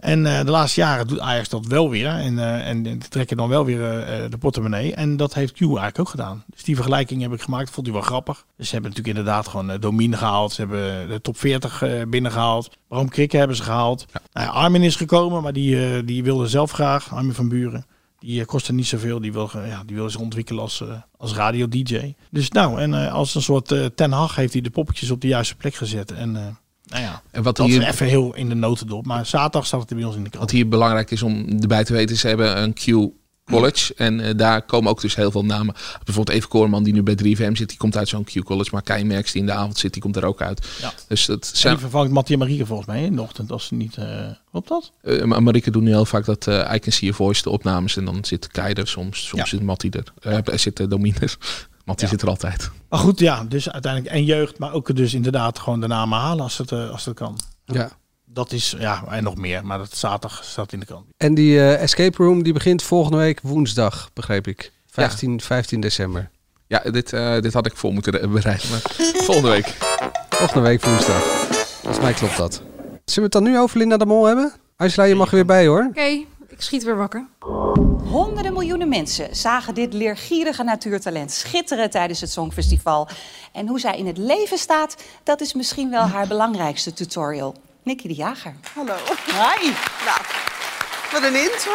G: En eh, de laatste jaren doet Ajax dat wel weer. En, eh en die trekken dan wel weer eh, eh, de portemonnee. En dat heeft Q eigenlijk ook gedaan. Dus die vergelijking heb ik gemaakt. Vond hij wel grappig. Dus ze hebben natuurlijk inderdaad gewoon eh, Domine gehaald. Ze hebben de top 40 eh, binnengehaald. Bram Krikke hebben ze gehaald. Nou ja, Armin is gekomen, maar die, eh, die wilde zelf graag. Armin van Buren. Die eh, kostte niet zoveel. Die wil, ge- ja, die wil zich ontwikkelen als, eh, als radio-dj. Dus nou, en eh, als een soort eh, Ten Hag heeft hij de poppetjes op de juiste plek gezet. En eh, nou ja,
I: En wat
G: dat
I: hier-
G: is even heel in de notendop. Maar zaterdag staat het er bij ons in de krant.
I: Wat hier belangrijk is om erbij te weten, ze hebben een Q College. En eh, daar komen ook dus heel veel namen. Bijvoorbeeld Eve Koorman, die nu bij 3FM zit, die komt uit zo'n Q College. Maar Kai Merks, die in de avond zit, die komt er ook uit.
G: Ja.
I: Dus dat
G: En
I: zijn.
G: die vervangt Mattie en Marieke volgens mij in de ochtend als ze niet... eh klopt dat?
I: eh, maar Marieke doet nu heel vaak dat eh I Can See Your Voice, de opnames. En dan zit Kai er soms, soms zit Mattie er. Eh, Er zit eh, Domien er. Mattie zit er altijd.
G: Maar goed, ja, dus uiteindelijk en jeugd, maar ook dus inderdaad gewoon de namen halen als het, eh, als het kan.
H: Ja.
G: Dat is, ja, en nog meer, maar dat zaterdag staat in de krant.
H: En die eh, escape room die begint volgende week woensdag, begreep ik. 15, 15 december.
I: Ja, dit, eh, dit had ik voor moeten re- bereiden. Maar volgende week.
H: Volgende week woensdag. Volgens mij klopt dat. Zullen we het dan nu over Linda de Mol hebben? Angela, je mag er weer bij hoor.
J: Oké, ik schiet weer wakker.
C: Honderden miljoenen mensen zagen dit leergierige natuurtalent schitteren tijdens het Songfestival. En hoe zij in het leven staat, dat is misschien wel haar belangrijkste tutorial. Nicky de Jager.
R: Hallo.
C: Hi.
R: Nou, wat een intro.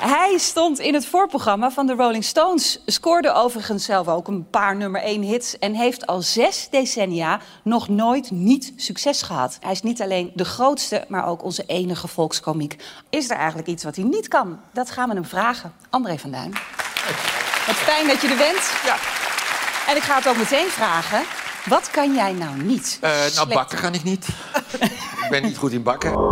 C: Hij stond in het voorprogramma van de Rolling Stones, scoorde overigens zelf ook een paar nummer 1 hits en heeft al zes decennia nog nooit niet succes gehad. Hij is niet alleen de grootste, maar ook onze enige volkskomiek. Is er eigenlijk iets wat hij niet kan? Dat gaan we hem vragen. André van Duin. Wat fijn dat je er bent. Ja. En ik ga het ook meteen vragen. Wat kan jij nou niet?
S: Eh, nou,
C: Slecht.
S: bakken kan ik niet. ik ben niet goed in bakken.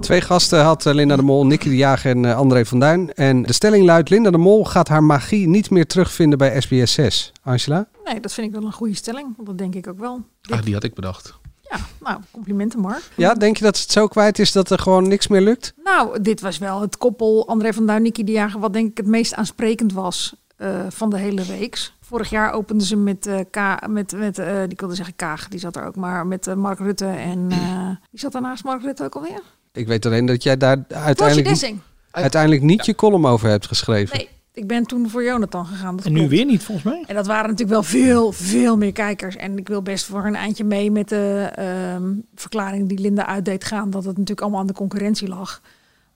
H: Twee gasten had eh, Linda de Mol, Nicky de Jager en eh, André van Duin. En de stelling luidt, Linda de Mol gaat haar magie niet meer terugvinden bij SBS6. Angela?
J: Nee, dat vind ik wel een goede stelling. want Dat denk ik ook wel.
I: Ah, die had ik bedacht.
J: Ja, nou, complimenten Mark.
H: Ja, denk je dat ze het zo kwijt is dat er gewoon niks meer lukt?
J: Nou, dit was wel het koppel André van Duin, Nicky de Jager, wat denk ik het meest aansprekend was eh, van de hele reeks. Vorig jaar openden ze met, eh, Ka met, met eh, die ik wilde zeggen Kaag, die zat er ook, maar met eh, Mark Rutte en... eh, die zat daarnaast Mark Rutte ook alweer?
H: Ik weet alleen dat jij daar uiteindelijk,
J: Dessing.
H: uiteindelijk niet je column over hebt geschreven.
J: Nee, ik ben toen voor Jonathan gegaan. dat
G: En nu
J: klopt.
G: weer niet, volgens mij.
J: En dat waren natuurlijk wel veel, veel meer kijkers. En ik wil best voor een eindje mee met de ehm, verklaring die Linda uitdeed gaan. Dat het natuurlijk allemaal aan de concurrentie lag.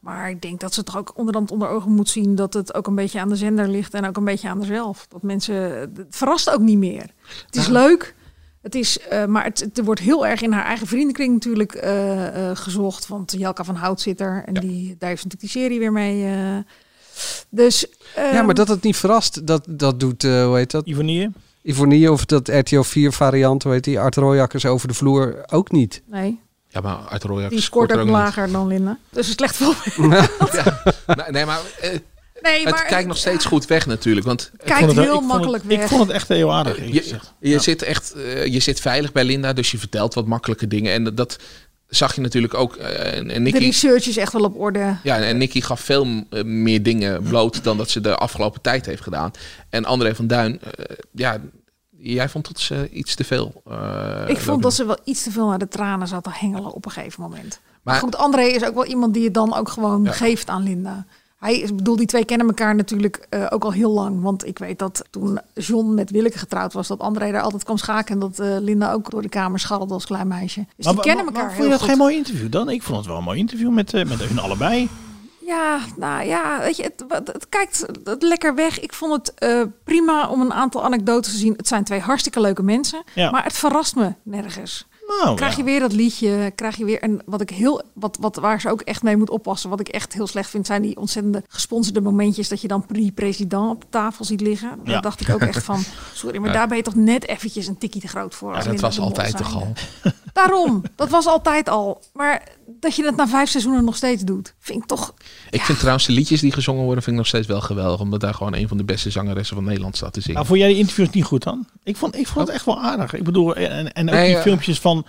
J: Maar ik denk dat ze toch ook onderhand onder ogen moet zien dat het ook een beetje aan de zender ligt en ook een beetje aan haarzelf. Dat mensen, het verrast ook niet meer. Het is leuk, het is, eh, maar het, het wordt heel erg in haar eigen vriendenkring natuurlijk eh, eh, gezocht. Want Jelka van Hout zit er en die, daar heeft natuurlijk die serie weer mee. eh. dus,
H: ja,
J: ehm,
H: maar dat het niet verrast, dat, dat doet, eh, hoe heet dat?
G: Ivonie.
H: Ivonie of dat RTO 4 variant, hoe heet die? Art Royakkers over de vloer ook niet.
J: Nee,
I: Ja, maar uit Royal
J: die scoort ook lager dan Linda. Dus een slecht voorbeeld.
I: Nee, nee, maar eh,
J: Nee,
I: het
J: maar
I: kijkt nog steeds goed weg natuurlijk. Want
J: kijkt
G: vond het wel-
J: heel
G: ik vond het-
J: makkelijk
G: ik
J: weg. Dus
G: vond het echt heel aardig. eerlijk
I: je,
G: gezegd.
I: je zit echt, eh, je zit veilig bij Linda, dus je vertelt wat makkelijke dingen. En dat, dat zag je natuurlijk ook. eh, en, en
J: De
I: Nicky,
J: research is echt wel op orde.
I: ja, en Nicky gaf veel eh, meer dingen bloot dan dat ze de afgelopen tijd heeft gedaan. En André van Duin, eh, ja, jij vond dat ze iets te veel. eh,
J: ik vond
I: wilde
J: dat ze wel iets te veel naar de tranen zat te hengelen op een gegeven moment. Maar,
I: Maar-
J: goed, André is ook wel iemand die het dan ook gewoon geeft aan Linda. Hij is, ik bedoel, die twee kennen elkaar natuurlijk eh, ook al heel lang. Want ik weet dat toen John met Willeke getrouwd was, dat André daar altijd kwam schaken. En dat eh, Linda ook door de kamer scharrelde als klein meisje. Dus
G: Maar-
J: die
G: maar-
J: kennen
G: maar
J: elkaar
G: Vond
J: heel
G: je dat
J: goed.
G: geen mooi interview dan? Ik vond het wel een mooi interview met, eh, met hun allebei.
J: Ja, nou ja, weet je, het, wat- het kijkt het lekker weg. Ik vond het eh, prima om een aantal anekdotes te zien. Het zijn twee hartstikke leuke mensen,
G: Ja.
J: maar het verrast me nergens.
I: Oh,
G: Nou,
J: krijg
G: ja.
J: je weer dat liedje, krijg je weer... En wat ik heel, wat, wat, waar ze ook echt mee moet oppassen, wat ik echt heel slecht vind... zijn die ontzettende gesponsorde momentjes dat je dan pre-president op de tafel ziet liggen.
I: Ja.
J: Daar dacht ik ook echt van, sorry, maar
I: Ja.
J: daar ben je toch net eventjes een tikkie te groot voor.
I: Ja,
J: als
I: dat
J: Linda
I: was
J: de Mol
I: altijd
J: zijnde.
I: toch al.
J: Daarom, dat was altijd al. Maar dat je dat na vijf seizoenen nog steeds doet, vind ik toch...
I: Ik vind trouwens de liedjes die gezongen worden, vind ik nog steeds wel geweldig. Omdat daar gewoon een van de beste zangeressen van Nederland staat te zingen.
G: Nou, vond jij die interviews niet goed dan? Ik vond, ik vond het echt wel aardig. Ik bedoel, en, en ook
I: Nee,
G: die
I: eh.
G: filmpjes van,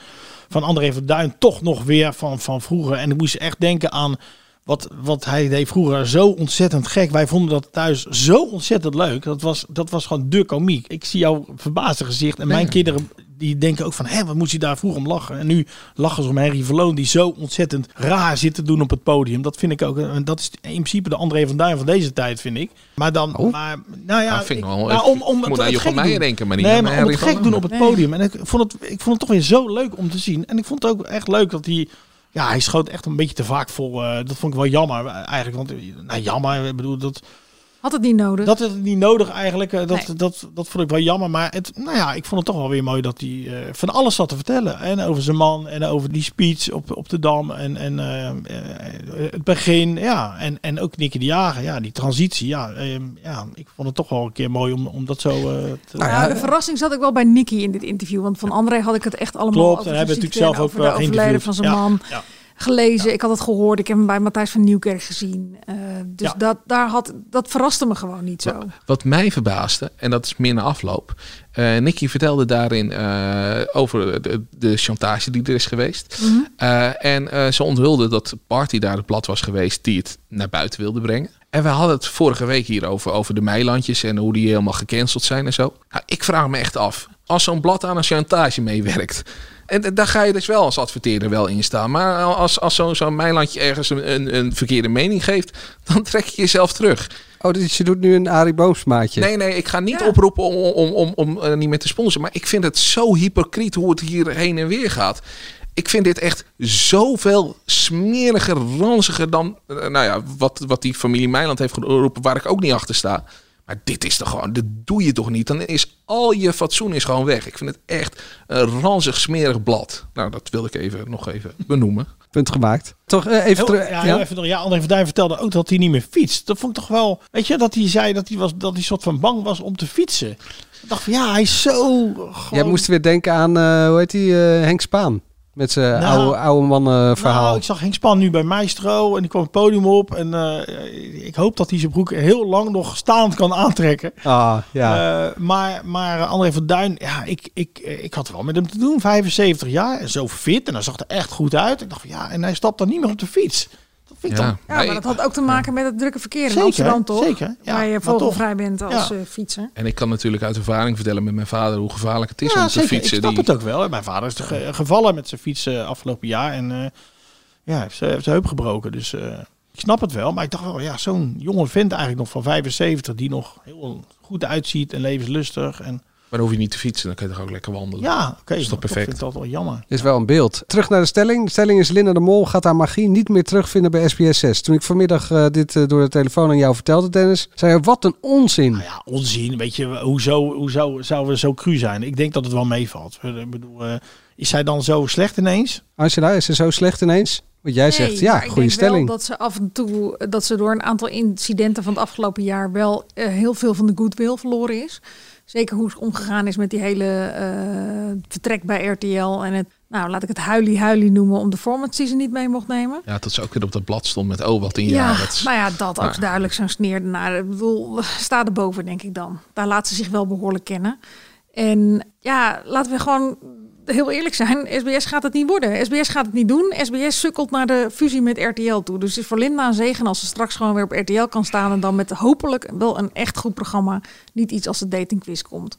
G: van André van Duin toch nog weer van, van vroeger. En ik moest echt denken aan wat, wat hij deed vroeger zo ontzettend gek. Wij vonden dat thuis zo ontzettend leuk. Dat was, dat was gewoon de komiek. Ik zie jouw verbaasde gezicht. En mijn
I: Nee.
G: kinderen die denken ook van, hé, wat moest hij daar vroeger om lachen? En nu lachen ze om Henry Verloon die zo ontzettend raar zit te doen op het podium. Dat vind ik ook, en dat is in principe de André van Duin van deze tijd, vind ik. Maar dan, maar, nou ja,
I: Ah, vind ik
G: ik-
I: wel-
G: nou,
I: ik-
G: om,
I: ik
G: om
I: moet
G: het-
I: aan
G: het
I: Jochem
G: gek
I: Meijer
G: doen.
I: denken, maar niet
G: nee,
I: aan
G: maar om
I: Henry
G: het
I: van
G: gek doen op het
I: Nee.
G: podium. En ik vond het, ik vond het toch weer zo leuk om te zien. En ik vond het ook echt leuk dat hij... Ja, hij schoot echt een beetje te vaak vol. eh, dat vond ik wel jammer eh, eigenlijk. Want, eh, nou jammer, ik bedoel, dat,
J: Had het niet nodig.
G: dat is niet nodig eigenlijk. eh, Dat,
J: Dus- Nee.
G: dat, dat, vond ik wel jammer. Maar het, nou ja, ik vond het toch wel weer mooi dat hij eh, van alles zat te vertellen. En over zijn man en over die speech op, op de Dam. En, en eh, eh, het begin, ja. En, en ook Nicky de Jager, ja, die transitie. Ja, eh, ja, ik vond het toch wel een keer mooi om, om dat zo eh, te...
J: Nou, de verrassing zat ik wel bij Nicky in dit interview. Want van André had ik het echt allemaal
G: Klopt,
J: over
G: en
J: zijn
G: hebben we natuurlijk
J: ziekte en
G: zelf ook, eh,
J: over de overlijden
G: geïnterviewd.
J: van zijn
G: Ja,
J: man
G: ja.
J: gelezen. Ik had het gehoord. Ik heb hem bij Matthijs van Nieuwkerk gezien. Eh, dus
I: Ja.
J: dat, daar had, dat verraste me gewoon niet zo.
I: Wat mij verbaasde, en dat is meer na afloop. eh, Nicky vertelde daarin eh, over de, de chantage die er is geweest.
J: Mhm.
I: Eh, en eh, ze onthulde dat Party daar de plat was geweest die het naar buiten wilde brengen. En we hadden het vorige week hier over, over de Meilandjes en hoe die helemaal gecanceld zijn en zo. Nou, ik vraag me echt af, als zo'n blad aan een chantage meewerkt. En d- daar ga je dus wel als adverteerder wel in staan. Maar als, als zo'n zo'n mijlandje ergens een, een, een verkeerde mening geeft, dan trek je jezelf terug.
H: Oh, dus je doet nu een Arie Boomsmaatje.
I: Nee, nee, ik ga niet oproepen om, om, om, om eh, niet meer te sponsoren. Maar ik vind het zo hypocriet hoe het hier heen en weer gaat. Ik vind dit echt zoveel smeriger, ranziger dan eh, nou ja, wat, wat die familie Meiland heeft geroepen, waar ik ook niet achter sta. Maar dit is toch gewoon, dit doe je toch niet? Dan is al je fatsoen is gewoon weg. Ik vind het echt een ranzig, smerig blad. Nou, dat wil ik even, nog even benoemen.
H: Punt gemaakt. Toch eh, even
G: Heel-
H: terug.
G: Ja, heel even terug. Ja, André van Duin vertelde ook dat hij niet meer fietst. Dat vond ik toch wel... Weet je, dat hij zei dat hij, was, dat hij soort van bang was om te fietsen. Ik dacht van, ja, hij is zo...
H: Jij
G: gewoon-
H: moest weer denken aan, eh, hoe heet die, eh, Henk Spaan. Met zijn
G: Nou,
H: oude, oude man eh, verhaal.
G: Nou, ik zag Henk Span nu bij Maestro en die kwam het podium op. En eh, ik hoop dat hij zijn broek heel lang nog staand kan aantrekken.
H: Ah, ja.
G: Eh, maar, maar eh, André van Duin, ja, ik, ik, eh, ik had wel met hem te doen. 75 jaar en zo fit en hij zag er echt goed uit. Ik dacht van ja, en hij stapt dan niet meer op de fiets. Dat vind ik
I: Ja.
G: dan...
J: Ja, maar dat had ook te maken met het drukke verkeer in
G: Zeker,
J: Amsterdam, toch?
G: zeker, ja,
J: Waar je
G: maar
J: vogelvrij
G: toch.
J: bent als
G: Ja.
J: eh, fietser.
I: En ik kan natuurlijk uit ervaring vertellen met mijn vader hoe gevaarlijk het is
G: Ja,
I: om te
G: zeker.
I: fietsen.
G: Ik snap
I: Die-
G: het ook wel. Mijn vader is ge- gevallen met zijn fiets eh, afgelopen jaar. En eh, ja, heeft zijn, heeft zijn heup gebroken. Dus eh, ik snap het wel. Maar ik dacht wel, ja, zo'n jonge vent eigenlijk nog van 75... die nog heel goed uitziet en levenslustig. En
I: Maar dan hoef je niet te fietsen, dan kun je toch ook lekker wandelen.
G: ja, oké.
I: is toch
G: maar
I: perfect.
G: vind ik dat wel jammer.
H: Is wel een beeld. Terug naar de stelling. De stelling is Linda de Mol gaat haar magie niet meer terugvinden bij SBS6. Toen ik vanmiddag eh, dit eh, door de telefoon aan jou vertelde, Dennis, zei je wat een onzin.
G: Nou Ja, onzin. Weet je, hoezo, hoezo zouden we zo cru zijn? Ik denk dat het wel meevalt. Ik bedoel, eh, is zij dan zo slecht ineens?
H: Angela, is ze zo slecht ineens? Want jij zegt, ja,
J: maar ik
H: goede
J: denk
H: stelling.
J: Wel dat ze af en toe, eh, dat ze door een aantal incidenten van het afgelopen jaar wel eh, heel veel van de goodwill verloren is. Zeker hoe ze omgegaan is met die hele eh, vertrek bij RTL en het, nou laat ik het huilie-huilie noemen, om de formats die ze niet mee mocht nemen.
I: Ja, dat ze ook weer op dat blad stond met oh, wat een
J: Ja,
I: jaar. Dat is-
J: nou ja, dat
I: Nou
J: ook duidelijk zo'n sneer ernaar. Ik bedoel, sta erboven denk ik dan. Daar laat ze zich wel behoorlijk kennen. En ja, laten we gewoon heel eerlijk zijn. SBS gaat het niet worden. SBS gaat het niet doen. SBS sukkelt naar de fusie met RTL toe. Dus het is voor Linda een zegen als ze straks gewoon weer op RTL kan staan. En dan met hopelijk wel een echt goed programma. Niet iets als de datingquiz komt.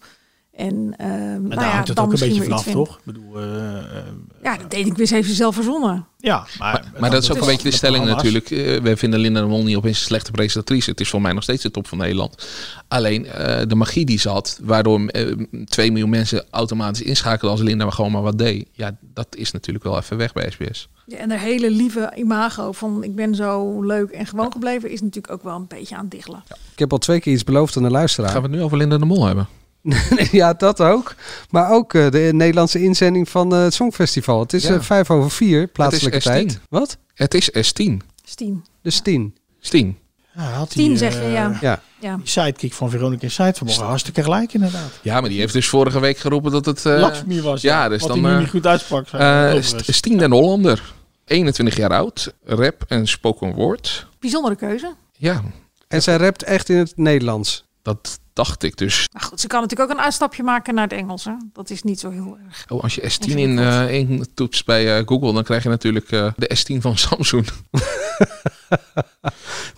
J: En, ehm nou
G: Maar
J: ja,
G: daar hangt het
J: dan
G: ook een beetje
J: misschien weer
G: vanaf,
J: iets vinden.
G: toch? Ik bedoel, eh, eh,
J: Ja, de datingquiz heeft ze zelf verzonnen.
G: ja, maar...
I: Maar dat is ook een beetje de stelling
G: programma's.
I: natuurlijk. Eh, wij vinden Linda de Mol niet opeens een slechte presentatrice. Het is voor mij nog steeds de top van Nederland. Alleen eh, de magie die ze had, waardoor eh, 2 miljoen mensen automatisch inschakelden als Linda maar gewoon maar wat deed. Ja, dat is natuurlijk wel even weg bij SBS.
J: Ja, en haar hele lieve imago van ik ben zo leuk en gewoon gebleven is natuurlijk ook wel een beetje aan het diggelen.
H: Ik heb al twee keer iets beloofd aan de luisteraar.
I: Gaan we het nu over Linda de Mol hebben?
H: ja, dat ook. Maar ook eh, de Nederlandse inzending van eh, het Songfestival. Het is
I: Ja.
H: eh, vijf over vier, plaatselijke
I: Het is S10.
H: tijd. Wat?
I: Het is S10.
J: Steam.
H: Dus tien.
I: Stien.
G: Ja, had
J: Tien
G: die,
J: zeg je,
G: eh,
J: ja.
H: Ja.
J: Ja.
G: Die sidekick van Veronica Insight vanmorgen. Hartstikke gelijk inderdaad.
I: Ja, maar die heeft dus vorige week geroepen dat het... eh,
G: Lakshmi was, ja.
I: dus
G: Wat
I: dan,
G: hij nu
I: eh,
G: niet goed uitsprak. zei hij
I: Eh,
G: ook
I: St-
G: wel eens.
I: Stien den Hollander, 21 jaar oud, rap en spoken word.
J: Bijzondere keuze.
I: Ja,
H: En zij rapt echt in het Nederlands.
I: dat dacht ik dus.
J: Maar goed, ze kan natuurlijk ook een uitstapje maken naar het Engels. Hè? Dat is niet zo heel erg.
I: Oh, als je S10 in, eh in toetst bij eh, Google, dan krijg je natuurlijk eh, de S10 van Samsung.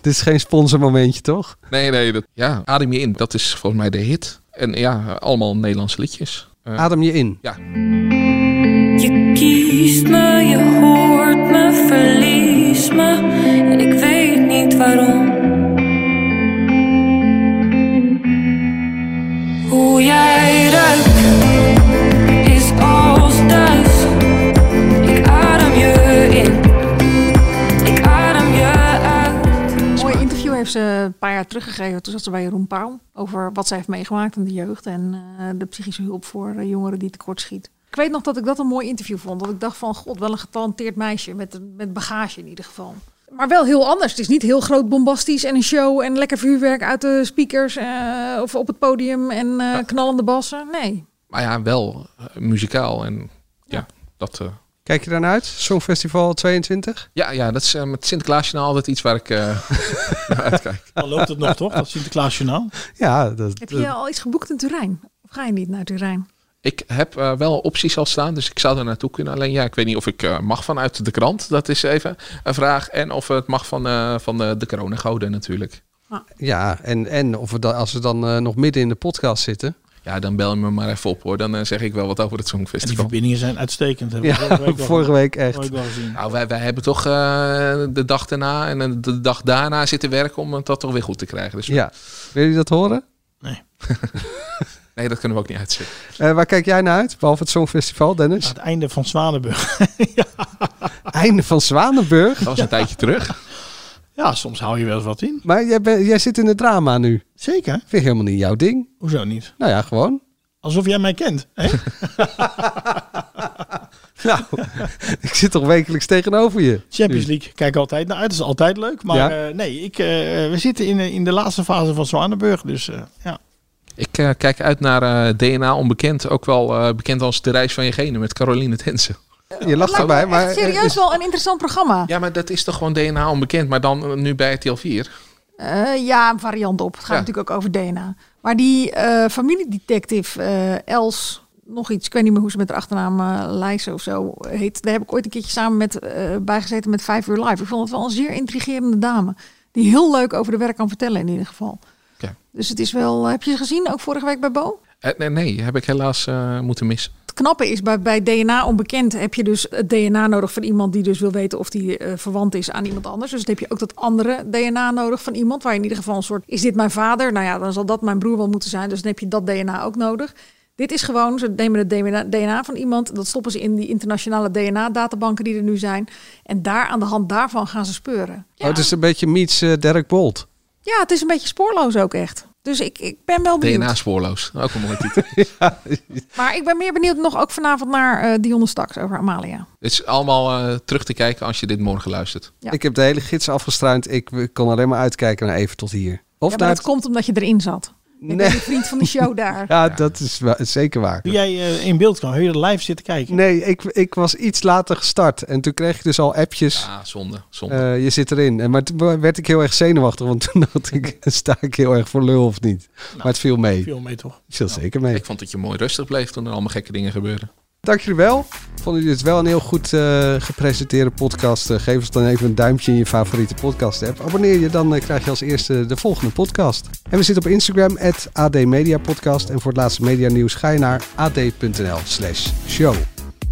H: Dit is geen sponsormomentje, toch?
I: nee, nee, dat, ja. Adem je in, dat is volgens mij de hit. En ja, allemaal Nederlandse liedjes. Eh,
H: Adem je in.
I: Ja.
T: Je kiest me, je hoort me, verlies me en ik weet niet waarom. Hoe jij ruikt is als thuis. Ik adem je in, ik adem je uit.
J: Een mooi interview heeft ze een paar jaar teruggegeven. Toen zat ze bij Jeroen Pauw over wat zij heeft meegemaakt in de jeugd. En eh, de psychische hulp voor eh, jongeren die tekortschiet. Ik weet nog dat ik dat een mooi interview vond. Dat ik dacht van, god, wel een getalenteerd meisje. Met, met bagage in ieder geval. Maar wel heel anders. Het is niet heel groot bombastisch en een show en lekker vuurwerk uit de speakers eh, of op het podium en eh, knallende bassen. Nee.
I: Maar ja, wel eh, muzikaal. En ja, dat... eh,
H: Kijk je daarnaar uit? Songfestival 22?
I: ja, ja, dat is eh, met Sinterklaasjournaal altijd iets waar ik eh, naar uitkijk.
G: Dan loopt het nog toch, dat Sinterklaasjournaal?
H: Ja, dat,
J: Heb je al iets geboekt in Turijn? Of ga je niet naar Turijn?
I: Ik heb eh, wel opties al staan, dus ik zou er naartoe kunnen. Alleen ja, ik weet niet of ik eh, mag vanuit de krant. Dat is even een vraag. En of het mag van, eh, van de, de coronagoden natuurlijk.
H: ja en, en of we dan, als we dan eh, nog midden in de podcast zitten.
I: Ja, dan bel je me maar even op hoor. Dan eh, zeg ik wel wat over het
G: En die
I: Songfestival.
G: verbindingen zijn uitstekend. Hebben
I: Ja,
G: we vorige week, al-
I: vorige week echt.
G: vorige week al gezien.
I: Nou, wij, wij hebben toch eh, de dag daarna en eh, de dag daarna zitten werken om dat toch weer goed te krijgen. Dus
H: Ja. Wil je dat horen?
I: nee, dat kunnen we ook niet uitzetten.
H: Eh, waar kijk jij naar uit, behalve het Songfestival, Dennis? het
G: einde van Zwanenburg.
H: Einde van Zwanenburg? Dat
I: was een tijdje terug.
G: Ja, soms hou je wel eens wat in.
H: Maar jij, bent- jij zit in het drama nu.
G: Zeker.
H: Vind ik helemaal niet jouw ding.
G: Hoezo niet?
H: Nou ja, gewoon.
G: Alsof jij mij kent. Hè?
H: nou, ik zit toch wekelijks tegenover je.
G: Champions
H: Nu.
G: League, kijk altijd naar uit. Dat is altijd leuk. Maar
H: Ja.
G: eh, nee, ik, eh, we zitten in, eh, in de laatste fase van Zwanenburg. Dus eh, ja.
I: Ik eh, kijk uit naar eh, DNA Onbekend, ook wel eh, bekend als De Reis van je Genen met Caroline Tensen.
H: Je lacht erbij, maar... Oh,
J: Echt serieus wel een interessant programma.
I: Ja, maar dat is toch gewoon DNA Onbekend, maar dan eh, nu bij RTL 4.
J: Eh, ja, een variant op. Het gaat
I: Ja.
J: natuurlijk ook over DNA. Maar die eh familiedetective eh, Els, nog iets, ik weet niet meer hoe ze met haar achternaam eh Leijsen of zo heet. Daar heb ik ooit een keertje samen met, eh, bijgezeten met Vijf Uur Live. Ik vond het wel een zeer intrigerende dame. Die heel leuk over de werk kan vertellen in ieder geval.
I: Oké.
J: Dus het is wel, heb je ze gezien ook vorige week bij Bo?
I: Eh, nee, nee, heb ik helaas eh, moeten missen.
J: Het knappe is, bij, bij DNA onbekend heb je dus het DNA nodig van iemand die dus wil weten of die eh, verwant is aan iemand anders. Dus dan heb je ook dat andere DNA nodig van iemand waar je in ieder geval een soort, is dit mijn vader? Nou ja, dan zal dat mijn broer wel moeten zijn. Dus dan heb je dat DNA ook nodig. Dit is gewoon, ze nemen het DNA, DNA van iemand, dat stoppen ze in die internationale DNA-databanken die er nu zijn. En daar aan de hand daarvan gaan ze speuren.
H: Oh, het is een beetje meets eh, Derek Bolt.
J: Ja, het is een beetje spoorloos ook echt. Dus ik, ik ben wel benieuwd.
I: DNA spoorloos, ook een mooie titel.
J: Maar ik ben meer benieuwd nog ook vanavond naar eh Dionne Staks over Amalia.
I: Het is allemaal eh, terug te kijken als je dit morgen luistert.
J: Ja.
H: Ik eh, heb de hele gids afgestruind. Ik eh, kon alleen maar uitkijken naar even tot hier. Of
J: ja, maar
H: naar
J: dat komt omdat je erin zat. Ik ben die vriend van de show daar.
H: Ja, dat is wa- zeker waar.
G: Toen jij eh, in beeld kwam, heb je er live zitten kijken.
H: Nee, ik, ik was iets later gestart. En toen kreeg ik dus al appjes.
I: Ah, zonde. zonde.
H: eh, je zit erin. En, maar toen werd ik heel erg zenuwachtig. Want toen dacht ik, sta ik heel erg voor lul of niet? maar Nou, het viel mee.
G: Viel mee toch?
H: Het viel zeker mee.
I: Ik vond dat je mooi rustig bleef toen er allemaal gekke dingen gebeurden.
H: Dank jullie wel. Vonden jullie het wel een heel goed eh, gepresenteerde podcast? Eh, geef ons dan even een duimpje in je favoriete podcast app. Abonneer je, dan eh, krijg je als eerste de volgende podcast. En we zitten op Instagram, at admediapodcast. En voor het laatste medianieuws ga je naar ad.nl slash show.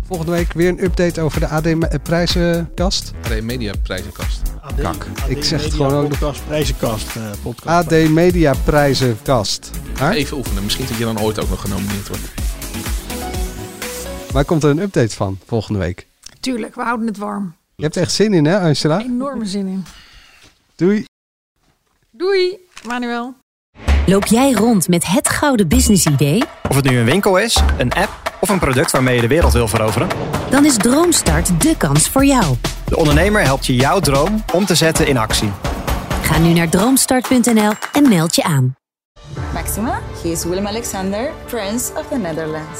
H: Volgende week weer een update over de AD-prijzenkast.
I: AD Media prijzenkast.
G: AD,
H: Kak. Ik zeg het
G: Media
H: gewoon ook nog.
G: Podcast, prijzenkast, eh, podcast.
H: AD-mediaprijzenkast.
I: Even oefenen, misschien dat je dan ooit ook nog genomineerd wordt.
H: Waar komt er een update van volgende week?
J: Tuurlijk, we houden het warm.
H: Je hebt er echt zin in, hè, Angela?
J: Enorme zin in.
H: Doei.
J: Doei, Manuel.
M: Loop jij rond met het gouden businessidee?
E: Of het nu een winkel is, een app of een product waarmee je de wereld wil veroveren.
M: Dan is Droomstart de kans voor jou.
E: De ondernemer helpt je jouw droom om te zetten in actie.
M: Ga nu naar droomstart.nl en meld je aan.
A: Maxima, he is Willem Alexander, Prince of the Netherlands.